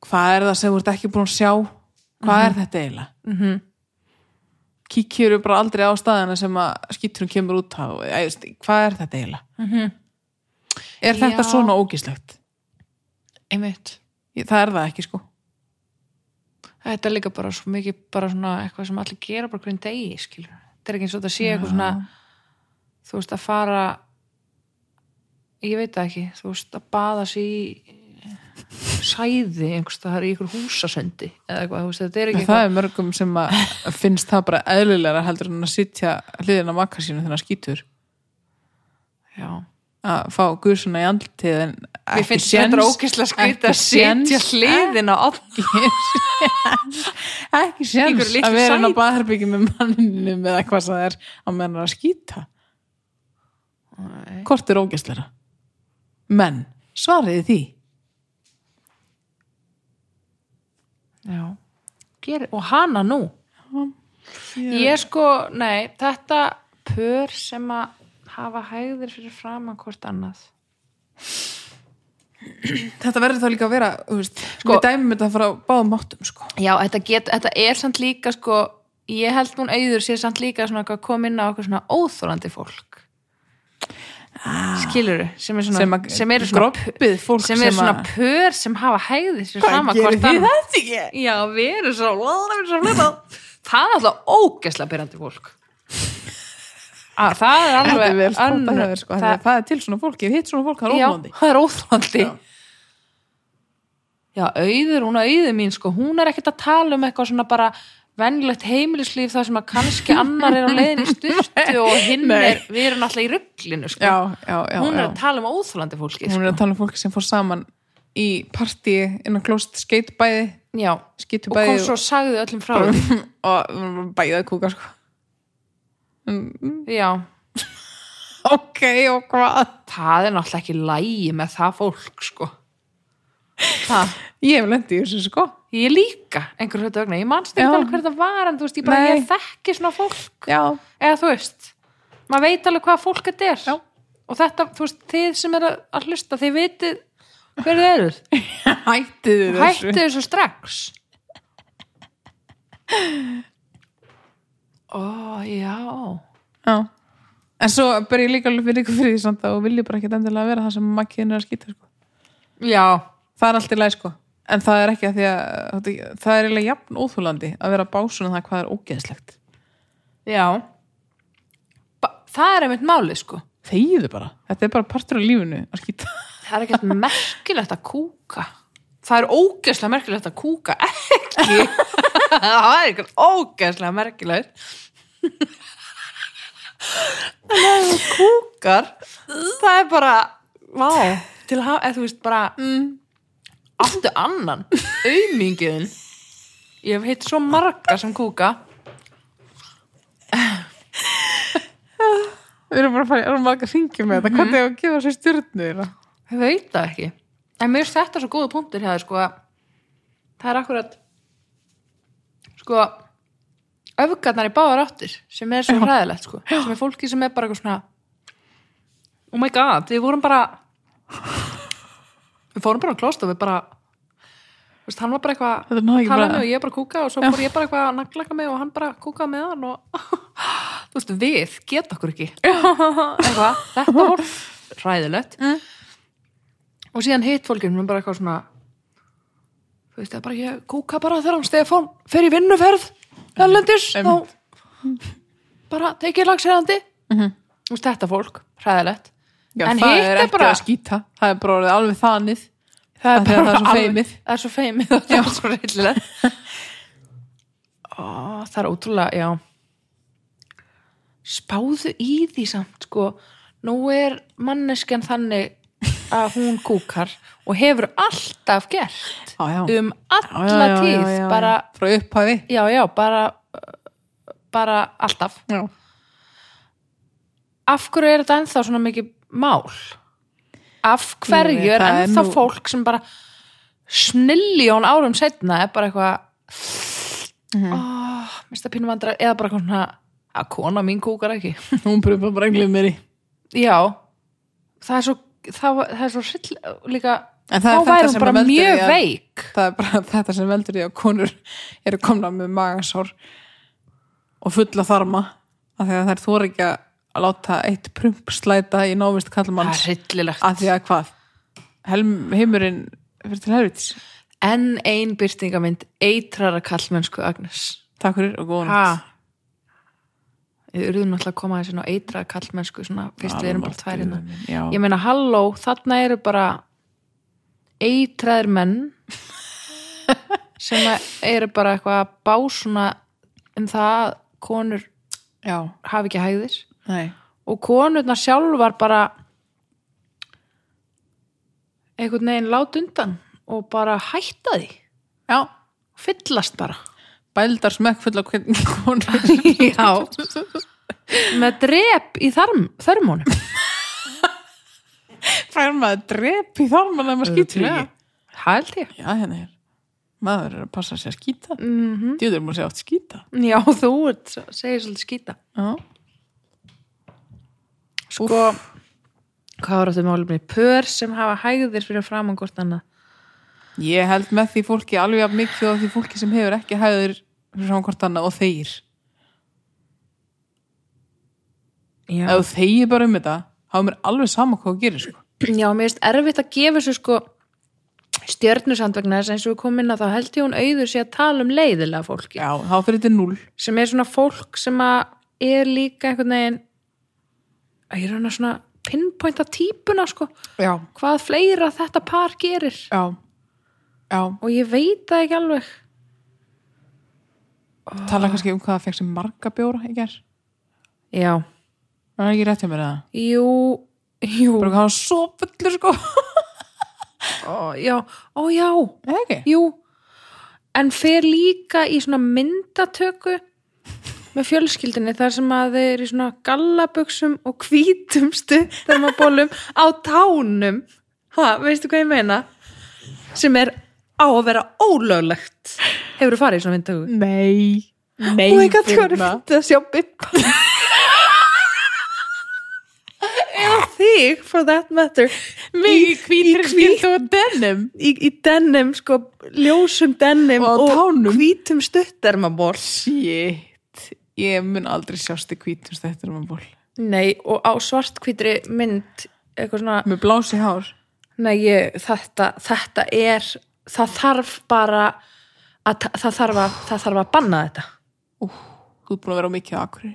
S1: hvað er það sem þú ert ekki búin að sjá hvað er þetta eiginlega mm
S2: Mhm.
S1: kíkjur bara aldrei á staðina sem að skýturum kemur út á Æ, veist, hvað er þetta eiginlega er þetta
S2: Mhm. Já.
S1: svona ógíslegt
S2: einmitt
S1: það er það ekki sko
S2: Þetta er líka bara svo mikið bara svona eitthvað sem allir gera bara hverjum degi, skilur. Þetta er ekki eins og þetta sé eitthvað svona þú veist að fara ég veit það ekki, þú veist að baða sig í sæði einhvers það er í ykkur húsasendi eða eitthvað, þú veist, þetta er ekki
S1: það er mörgum sem að finnst það bara eðlilega heldur en að sitja hliðina á makka sínu þegar skýtur
S2: Já.
S1: að fá gusuna í andlitið en
S2: Mér
S1: ekki
S2: finnst þetta
S1: séns,
S2: ókislega
S1: ekki
S2: skrýta að setja
S1: séns,
S2: hliðin á átni
S1: ekki séns
S2: Einhverju litlu
S1: að vera inn á
S2: sæti.
S1: baðherbyggjum með manninum eða hvað það er á meðan hann er að skýta hvort er ógæstlega menn, svariði því
S2: Já. Geri, og hana nú Ég sko, nei, þetta pör sem að hafa hægðir fyrir framan hvort annað
S1: þetta verður þá líka að vera þú veist,
S2: Sko-
S1: við dæmum þetta frá báðum máttum sko.
S2: Já, þetta, get, þetta er samt líka sko, ég held hún auður sé samt líka svona að koma inn á okkur svona óþólandi fólk ah, skiluru, sem er svona
S1: sem, að-
S2: sem eru svona,
S1: groppið fólk
S2: sem er svona
S1: að-
S2: pör sem hafa hægði sér fram að
S1: hvað gerir
S2: hvort annað
S1: þið þetta ekki?
S2: Já, við erum svo það er alltaf ógesla byrjandi fólk að, það
S1: Þetta
S2: er
S1: er
S2: alveg
S1: vel spóta
S2: önnur-
S1: hefur sko,
S2: það-
S1: það, það er til svona fólki, hitt svona fólk, það er
S2: Já,
S1: ómóndi.
S2: það er óþólandi já. auður, hún auður mín sko, hún er ekkert að tala um eitthvað svona bara venjulegt heimilislíf það sem að kannski annar er á leiðin í styrtu og hinn
S1: nei.
S2: er, við erum alltaf í rugglinu sko.
S1: Já, já, já.
S2: hún er
S1: já.
S2: að tala um óþólandi fólki
S1: hún
S2: sko.
S1: er að tala um fólki sem fór saman í partí inn á klóst skeitbæði
S2: já, og
S1: skeitubæði
S2: kom svo og sagði öllum frá því
S1: og, og bæðið kúka sko
S2: já,
S1: ok og hvað
S2: það er náttúrulega ekki lægi með það fólk sko það
S1: ég hef lendið í þessu sko
S2: Ég líka, einhver hlutu vegna, ég manst ekki
S1: Já.
S2: alveg hver það var en þú veist, ég bara,
S1: Nei.
S2: ég þekki svona fólk
S1: já,
S2: eða þú veist, maður veit alveg hvað fólk þetta er
S1: Já.
S2: og þetta, þú veist, þið sem eru að hlusta, þið vitið hver þið eru,
S1: hættið þið þessu
S2: hættu þessu strax Ó, já
S1: já. en svo ber ég líka alveg fyrir ykkur fyrir því samt að og vilji bara ekkert endilega vera það sem makkiðin er að skýta sko.
S2: Já,
S1: það er allt í læg sko en það er ekki að því að það er eiginlega jafn óþúlandi að vera básun um það hvað er ógeðslegt
S2: já ba Það er einmitt málið, sko
S1: þegiðu bara, þetta er bara partur af lífinu að skýta
S2: Það er ekkert merkilegt að kúka Það er ógeðslega merkilegt að kúka ekki Það er ekkert ógeðslega merkilegt En ef þú kúkar það er bara vá, til að eða þú veist bara mm. aftur annan aumingiðin Ég hef hitt svo marga sem kúka
S1: Við erum bara að fara í erum marga hringjum með þetta. Hvernig hefur að gefa sér stjórnu þeirra?
S2: Ég veit það ekki. En mér finnst þetta svo góða punktur hér, sko, að það er akkurat, sko, öfgarnar í báðar áttir, sem er svo hræðilegt, sko, sem er fólki sem er bara eitthvað svona, oh my god, við vorum bara, við fórum bara á klóst og við bara, þú veist, hann var bara eitthvað,
S1: Þetta náði ekki
S2: talaði
S1: bara-
S2: mig og ég bara kúka og svo fór ég bara eitthvað að naglaka mig og hann bara kúkaði með hann og, þú veist, við geta okkur ekki eitthvað, þetta var ræðilegt og síðan hitt fólkinn hún bara eitthvað svona þú veist það er bara ég kúka bara þegar hann Stefán fer í vinnuferð erlendis þá
S1: Einmitt.
S2: bara tekið lagsherrandi mm -hmm. þetta fólk, hræðilegt
S1: Já,
S2: En
S1: það
S2: hitt
S1: er
S2: er
S1: ekki
S2: bara-
S1: að skýta það er bara orðið alveg þanið
S2: það
S1: Af því að það er svo
S2: alveg-
S1: feimið.
S2: það er svo feimið og það er svo reyðilegt það er ótrúlega, já spáðu í því samt sko, nú er manneskjan þannig að hún kúkar og hefur alltaf gert
S1: Já, já.
S2: um alla
S1: Já, já,
S2: tíð
S1: já, já, já.
S2: bara,
S1: frá upphafi
S2: já, já, bara bara alltaf
S1: já.
S2: af hverju er þetta ennþá svona mikið mál af
S1: Ég
S2: hverju
S1: veit,
S2: er
S1: það er
S2: ennþá
S1: nú-
S2: fólk sem bara sniljón árum setna er bara eitthvað mm
S1: Mhm.
S2: -hmm. oh, mista pínum andra eða bara eitthvað svona að kona mín kúkar ekki
S1: hún pröfa bara englið mér í
S2: já, það er svo það, var- það er svo sill líka
S1: En það er
S2: þá
S1: þetta
S2: væri hún
S1: sem
S2: bara
S1: að veldur
S2: mjög
S1: því að-
S2: veik
S1: það er bara þetta sem veldur því að konur eru komna með magasár og fulla þarma af því að þær þóra ekki að láta eitt prump slæta í návist
S2: það er
S1: kallmanns
S2: sillilegt
S1: af því að hvað Helm, heimurinn fyrir til helvits
S2: enn ein byrtingamynd eitrara kallmennsku Agnes
S1: takk fyrir og góðan
S2: Ha? Við urðum náttúrulega að koma þessi ná eitra kallmennsku svona, fyrst við erum bara tværina. Ég
S1: já,
S2: meina, halló, þarna eru bara eitraðir menn sem að eru bara eitthvað að bá svona um það að konur
S1: já,
S2: hafi ekki hægðir
S1: nei
S2: og konurnar sjálfar bara einhvern veginn lát undan og bara hætta því
S1: já,
S2: fyllast bara
S1: bældar smekk fulla konur
S2: Já Með drep í þarm, þörmónum
S1: fær maður drep í þarman ef maður skýtur í
S2: Örugglega. Hældi ég
S1: já, hérna er maður er að passa sér að skýta mm -hmm. djúður maður sér átt skýta
S2: Já, þú ert, segir svolítið skýta
S1: já,
S2: Sko, hvað var þetta málumni? Pör sem hafa hægðir fyrir framan hvort annað
S1: Ég held með því fólki alveg að mikið og því fólki sem hefur ekki hæður fyrir svona hvort annað og þeir
S2: Já,
S1: ef þú þeir bara um þetta hafa mér alveg sama hvað þú gerir sko.
S2: Já mér finnst erfitt að gefa þessu sko stjörnusand vegna þess að eins og við komum inn að þá held ég hún auður sé að tala um leiðilega fólki
S1: Já, þá fyrir þetta núl
S2: sem er svona fólk sem að er líka einhvern veginn að ég er hann að svona pinpointa típuna sko
S1: Já,
S2: hvað fleira þetta par gerir
S1: já, já
S2: og ég veit það ekki alveg
S1: Tala kannski um hvað það fekk sem marga bjóra í ger
S2: já,
S1: Það er ekki rétt hjá mér eða
S2: jú, jú
S1: Bara hvað hann var svo fullur sko
S2: ó, já, ó já,
S1: Eða ekki?
S2: jú en fer líka í svona myndatöku með fjölskyldinni þar sem að þeir eru í svona gallabuxum og hvítum stuttarmabólum á tánum ha, veistu hvað ég meina sem er á að vera ólöglegt hefur þú farið í svona myndatöku
S1: Nei Oh Nei,
S2: og ég gæti hvað er
S1: Birna.
S2: fyrir að sjá Bibba eða þig for that matter
S1: Mig í hvítri
S2: í hvít-
S1: skildu og denim
S2: í, í denim sko, ljósum denim
S1: Og á tánum.
S2: hvítum stuttermaból
S1: Shit Ég mun aldrei sjást í hvítum stættur um að ból
S2: nei, og á svartkvítri mynd eitthvað svona
S1: Með blási hár
S2: Nei, ég, þetta, þetta er það þarf bara að, ta- það, þarf að, það þarf að banna þetta
S1: Ú, þú er búin að vera á mikið á akkurri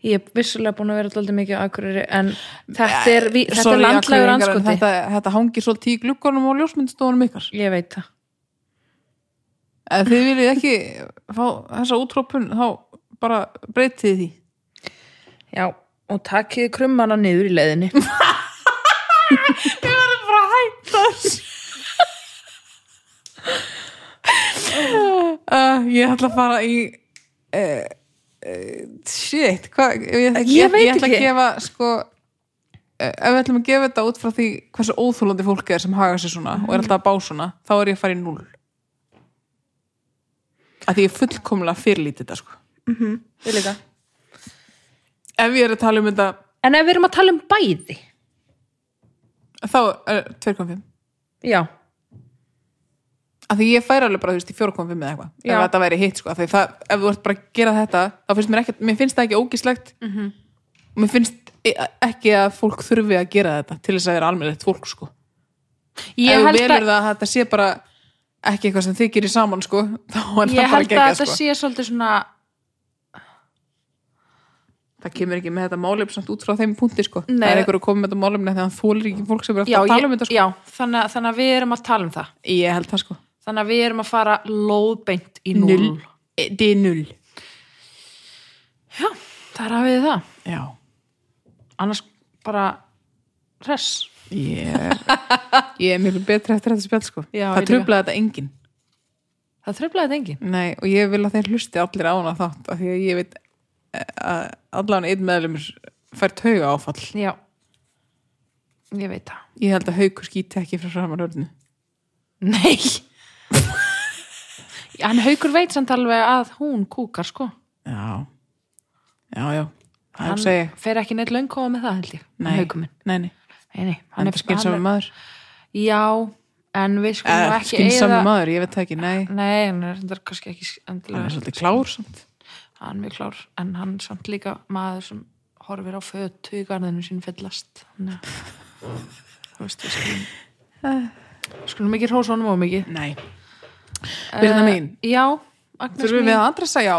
S2: ég er vissulega búin að vera alltaf mikið á akkurri en þetta er, vi, þetta er
S1: Sorry,
S2: landlægur
S1: Akureyringar, en
S2: anskoti
S1: þetta, þetta hangir svolítið í gluggunum og ljósmyndstónum ykkar
S2: ég veit það
S1: ef þið viljið ekki fá þessa útrópun þá bara breytið því
S2: Já, og takkið krummana niður í leiðinni.
S1: uh, ég ætla að fara í uh, uh, shit hva, ég, ég,
S2: Ég veit
S1: ég ætla
S2: ekki.
S1: að gefa sko uh, ef við ætlum að gefa þetta út frá því hversu óþúlandi fólk er sem haga sér svona og er alltaf að bá svona, þá er ég að fara í null að því ég er fullkomlega fyrirlítið þetta sko
S2: Ég líka.
S1: ef ég er að tala um þetta
S2: En ef við erum að tala um bæði,
S1: þá er 2.5
S2: já,
S1: að því ég færi alveg bara, þú veist, í 4.5 eða eitthvað ef
S2: Já.
S1: þetta væri hitt, sko, af því það, ef þú ert bara að gera þetta, þá finnst mér ekkert mér finnst það ekki ógislegt mm
S2: Mhm.
S1: -hmm. mér finnst e- ekki að fólk þurfi að gera þetta til þess að vera almennilegt fólk, sko
S2: ég
S1: ef þú
S2: held,
S1: velur
S2: að,
S1: það að þetta sé bara ekki eitthvað sem þið gerir saman, sko þá er það
S2: ég
S1: bara
S2: held að
S1: geggjað,
S2: þetta
S1: sko
S2: sé svolítið svona,
S1: það kemur ekki með þetta málefn samt út frá þeim punkti sko
S2: Nei.
S1: það er einhver að koma með þetta málefni þegar hann þólir ekki fólk sem er
S2: já,
S1: alltaf að tala
S2: ég,
S1: um þetta sko.
S2: já þannig, að, þannig að við erum að tala um það
S1: ég held það sko
S2: þannig að við erum að fara lóðbeint í null Eh,
S1: það er null
S2: já, það er að við það
S1: já
S2: annars bara res
S1: ég, ég er miklu betri eftir þetta spjall sko
S2: Já, ég
S1: það
S2: líka.
S1: trublaði þetta enginn
S2: það tröflaði þetta engin
S1: Nei, og ég vil að þeir hlusti allir á hana þátt af því að ég veit að allan einn meðlumur fær tauga áfall
S2: já, ég veit það
S1: ég held að haukur skýti ekki frá framar hörnu
S2: Nei Hann haukur veit samt alveg að hún kúkar sko
S1: já, já, já það er
S2: Hann
S1: að segja
S2: fer ekki neitt löng koma með það held ég hann
S1: nei,
S2: Haukur minn
S1: nei, nei,
S2: Nei, nei,
S1: hann er skynsami maður
S2: Já, en við sko
S1: Eh,
S2: ekki
S1: skynsami
S2: eyða-
S1: maður, ég veit það ekki, nei
S2: Nei, hann er þetta kannski ekki
S1: hann er
S2: endilega
S1: svolítið klár samt
S2: Hann er mjög klár En hann er samt líka maður sem horfir á fötu í garðinu sín fyllast Þannig að Þú veist, við skulum Við skulum ekki hrósa honum og mikið Eh,
S1: nei, Eh, Birna mín
S2: Já, Agnes
S1: þurfum
S2: mín
S1: við að adressa, já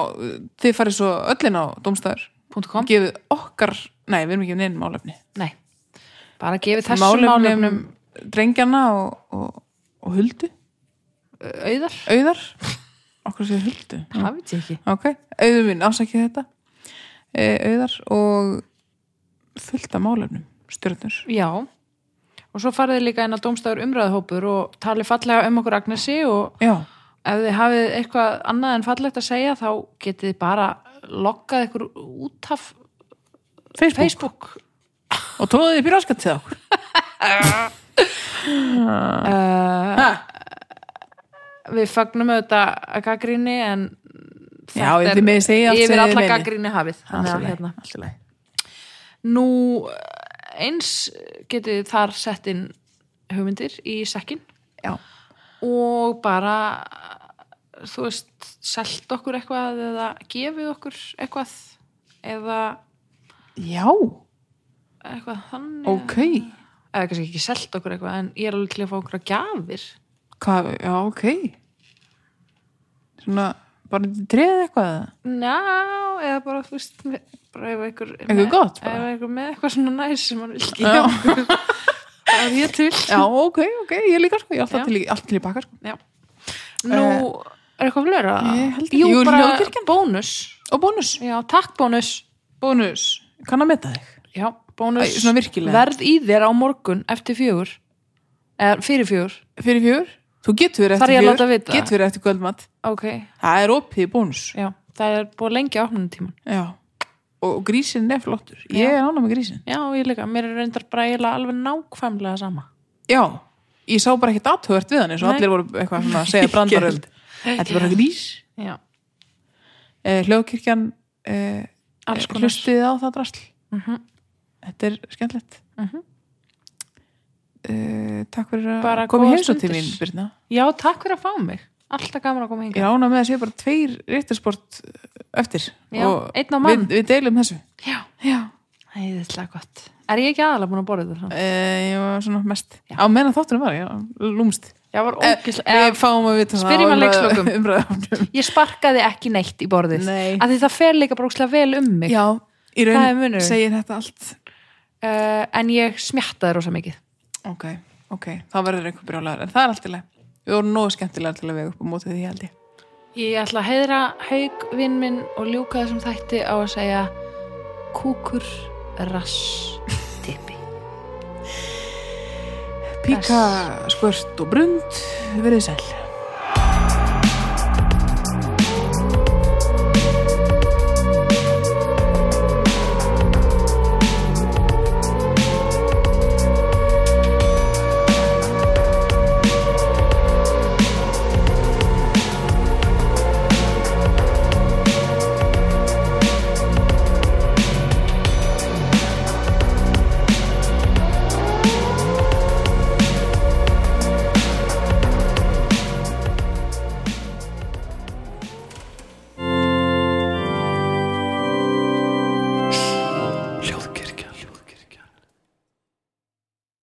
S1: þið farið svo öllin á domstæður
S2: Punktur .com
S1: gefið okkar, nei, við erum ekki neinn málefni
S2: Nei, bara gefið þessum
S1: málefnum,
S2: málefnum
S1: drengjana og, og, og huldu
S2: auðar
S1: auðar okkur séu huldu
S2: Það veit ég ekki
S1: ok, auðu mín ásækið þetta e, auðar og fullt af málefnum stjörnur
S2: Já, og svo farið þið líka inn á Dómstafur umræðahópur og talið fallega um okkur Agnesi og
S1: já,
S2: ef þið hafið eitthvað annað en fallegt að segja þá getið þið bara loggað ykkur út af
S1: Facebook,
S2: Facebook
S1: og tróðið upp í raskat til okkur
S2: Við fagnum auðvitað að gaggrinni en
S1: Já, þið megið segja allt sem
S2: yfir
S1: þið
S2: alla
S1: meinið.
S2: gaggrinni hafið þannig að hérna
S1: allt í lagi
S2: Nú eins getið þið þar sett inn hugmyndir í sekkin
S1: já,
S2: og bara þú veist, selt okkur eitthvað eða gefið okkur eitthvað eða
S1: já,
S2: eitthvað þannig
S1: ok
S2: eða kannski ekki selt okkur eitthvað en ég er alveg til að fá okkur að gjafir
S1: Hvað, já, ok svona bara treðið eitthvað eða?
S2: Ná, eða bara þú veist með- bara ef einhver er
S1: Eitthvað
S2: með-
S1: gott
S2: ef
S1: bara.
S2: einhver með eitthvað svona næs sem hann vil
S1: Já.
S2: gefa okkur það er ég til
S1: já, ok, ok, ég líka sko ég er
S2: Já.
S1: alltaf til, í- allt til í bakar sko.
S2: Já. Nú, er eitthvað flera?
S1: Eh, ég held ekki.
S2: Jú,
S1: Jú,
S2: bara
S1: Hljóðkirkjan.
S2: bónus
S1: og bónus,
S2: Já, takk bónus
S1: bónus, kann að meta þig
S2: Já, bónus
S1: Æ, svona virkilega.
S2: Verð í þér á morgun eftir fjögur eða fyrir fjögur
S1: fyrir fjör, þú getur verið
S2: Þarf
S1: eftir
S2: ég að
S1: fjör
S2: láta vita?
S1: getur verið eftir kvöldmatt
S2: Ok,
S1: Það er opið í bónus.
S2: já, það er búið lengi á opnunum tíman
S1: Já. Og og grísinn er flottur. Ég er ánægð með grísinn.
S2: Já, ég líka, mér er reyndar bara eiginlega alveg nákvæmlega sama
S1: Já. Ég sá bara ekkert aðtöðvert við hann eins og
S2: Nei.
S1: allir voru eitthvað svona að segja brandaröld. Þetta er bara grís.
S2: Já,
S1: Eh, Hljóðkirkjan eh,
S2: alls konar Mhm.
S1: hlustiði á það drasl. Þetta er skemmtilegt. eh, takk fyrir
S2: Bara
S1: að koma í
S2: góðar
S1: heimsótt til
S2: stundir.
S1: mín, Birna.
S2: Já, takk fyrir að fá mig Alltaf gaman að koma
S1: Ég
S2: hingað
S1: rána með að sé bara tveir réttarsport eh, eftir.
S2: Já,
S1: Og
S2: einn á mann.
S1: Við, við deilum þessu.
S2: Já,
S1: Já.
S2: æðislega gott Er ég ekki aðalega búin að borða þetta?
S1: Eh, ég var svona mest. Á meðan þáttunum var, ég lúmst.
S2: Já, var
S1: Eh,
S2: ógislega
S1: Við fáum að vita
S2: Spyrjum að leikslokum.
S1: leikslokum
S2: Ég sparkaði ekki neitt í borðið
S1: Nei.
S2: Af Því það fer líka brókslega vel um mig
S1: Já, í
S2: Það er
S1: raun
S2: munurinn.
S1: segir þetta allt
S2: uh, En ég smjattaði rosa mikið
S1: Ok, ok, þá verður einhver brjólaður en það er allt í leið Við vorum nógu skemmtilega til að vega upp á mótið því held ég
S2: Ég ætla að heiðra haug vinn minn og ljúka þessum þætti á að segja kúkur rass tippi.
S1: Píka, skvört og brund, verið sæl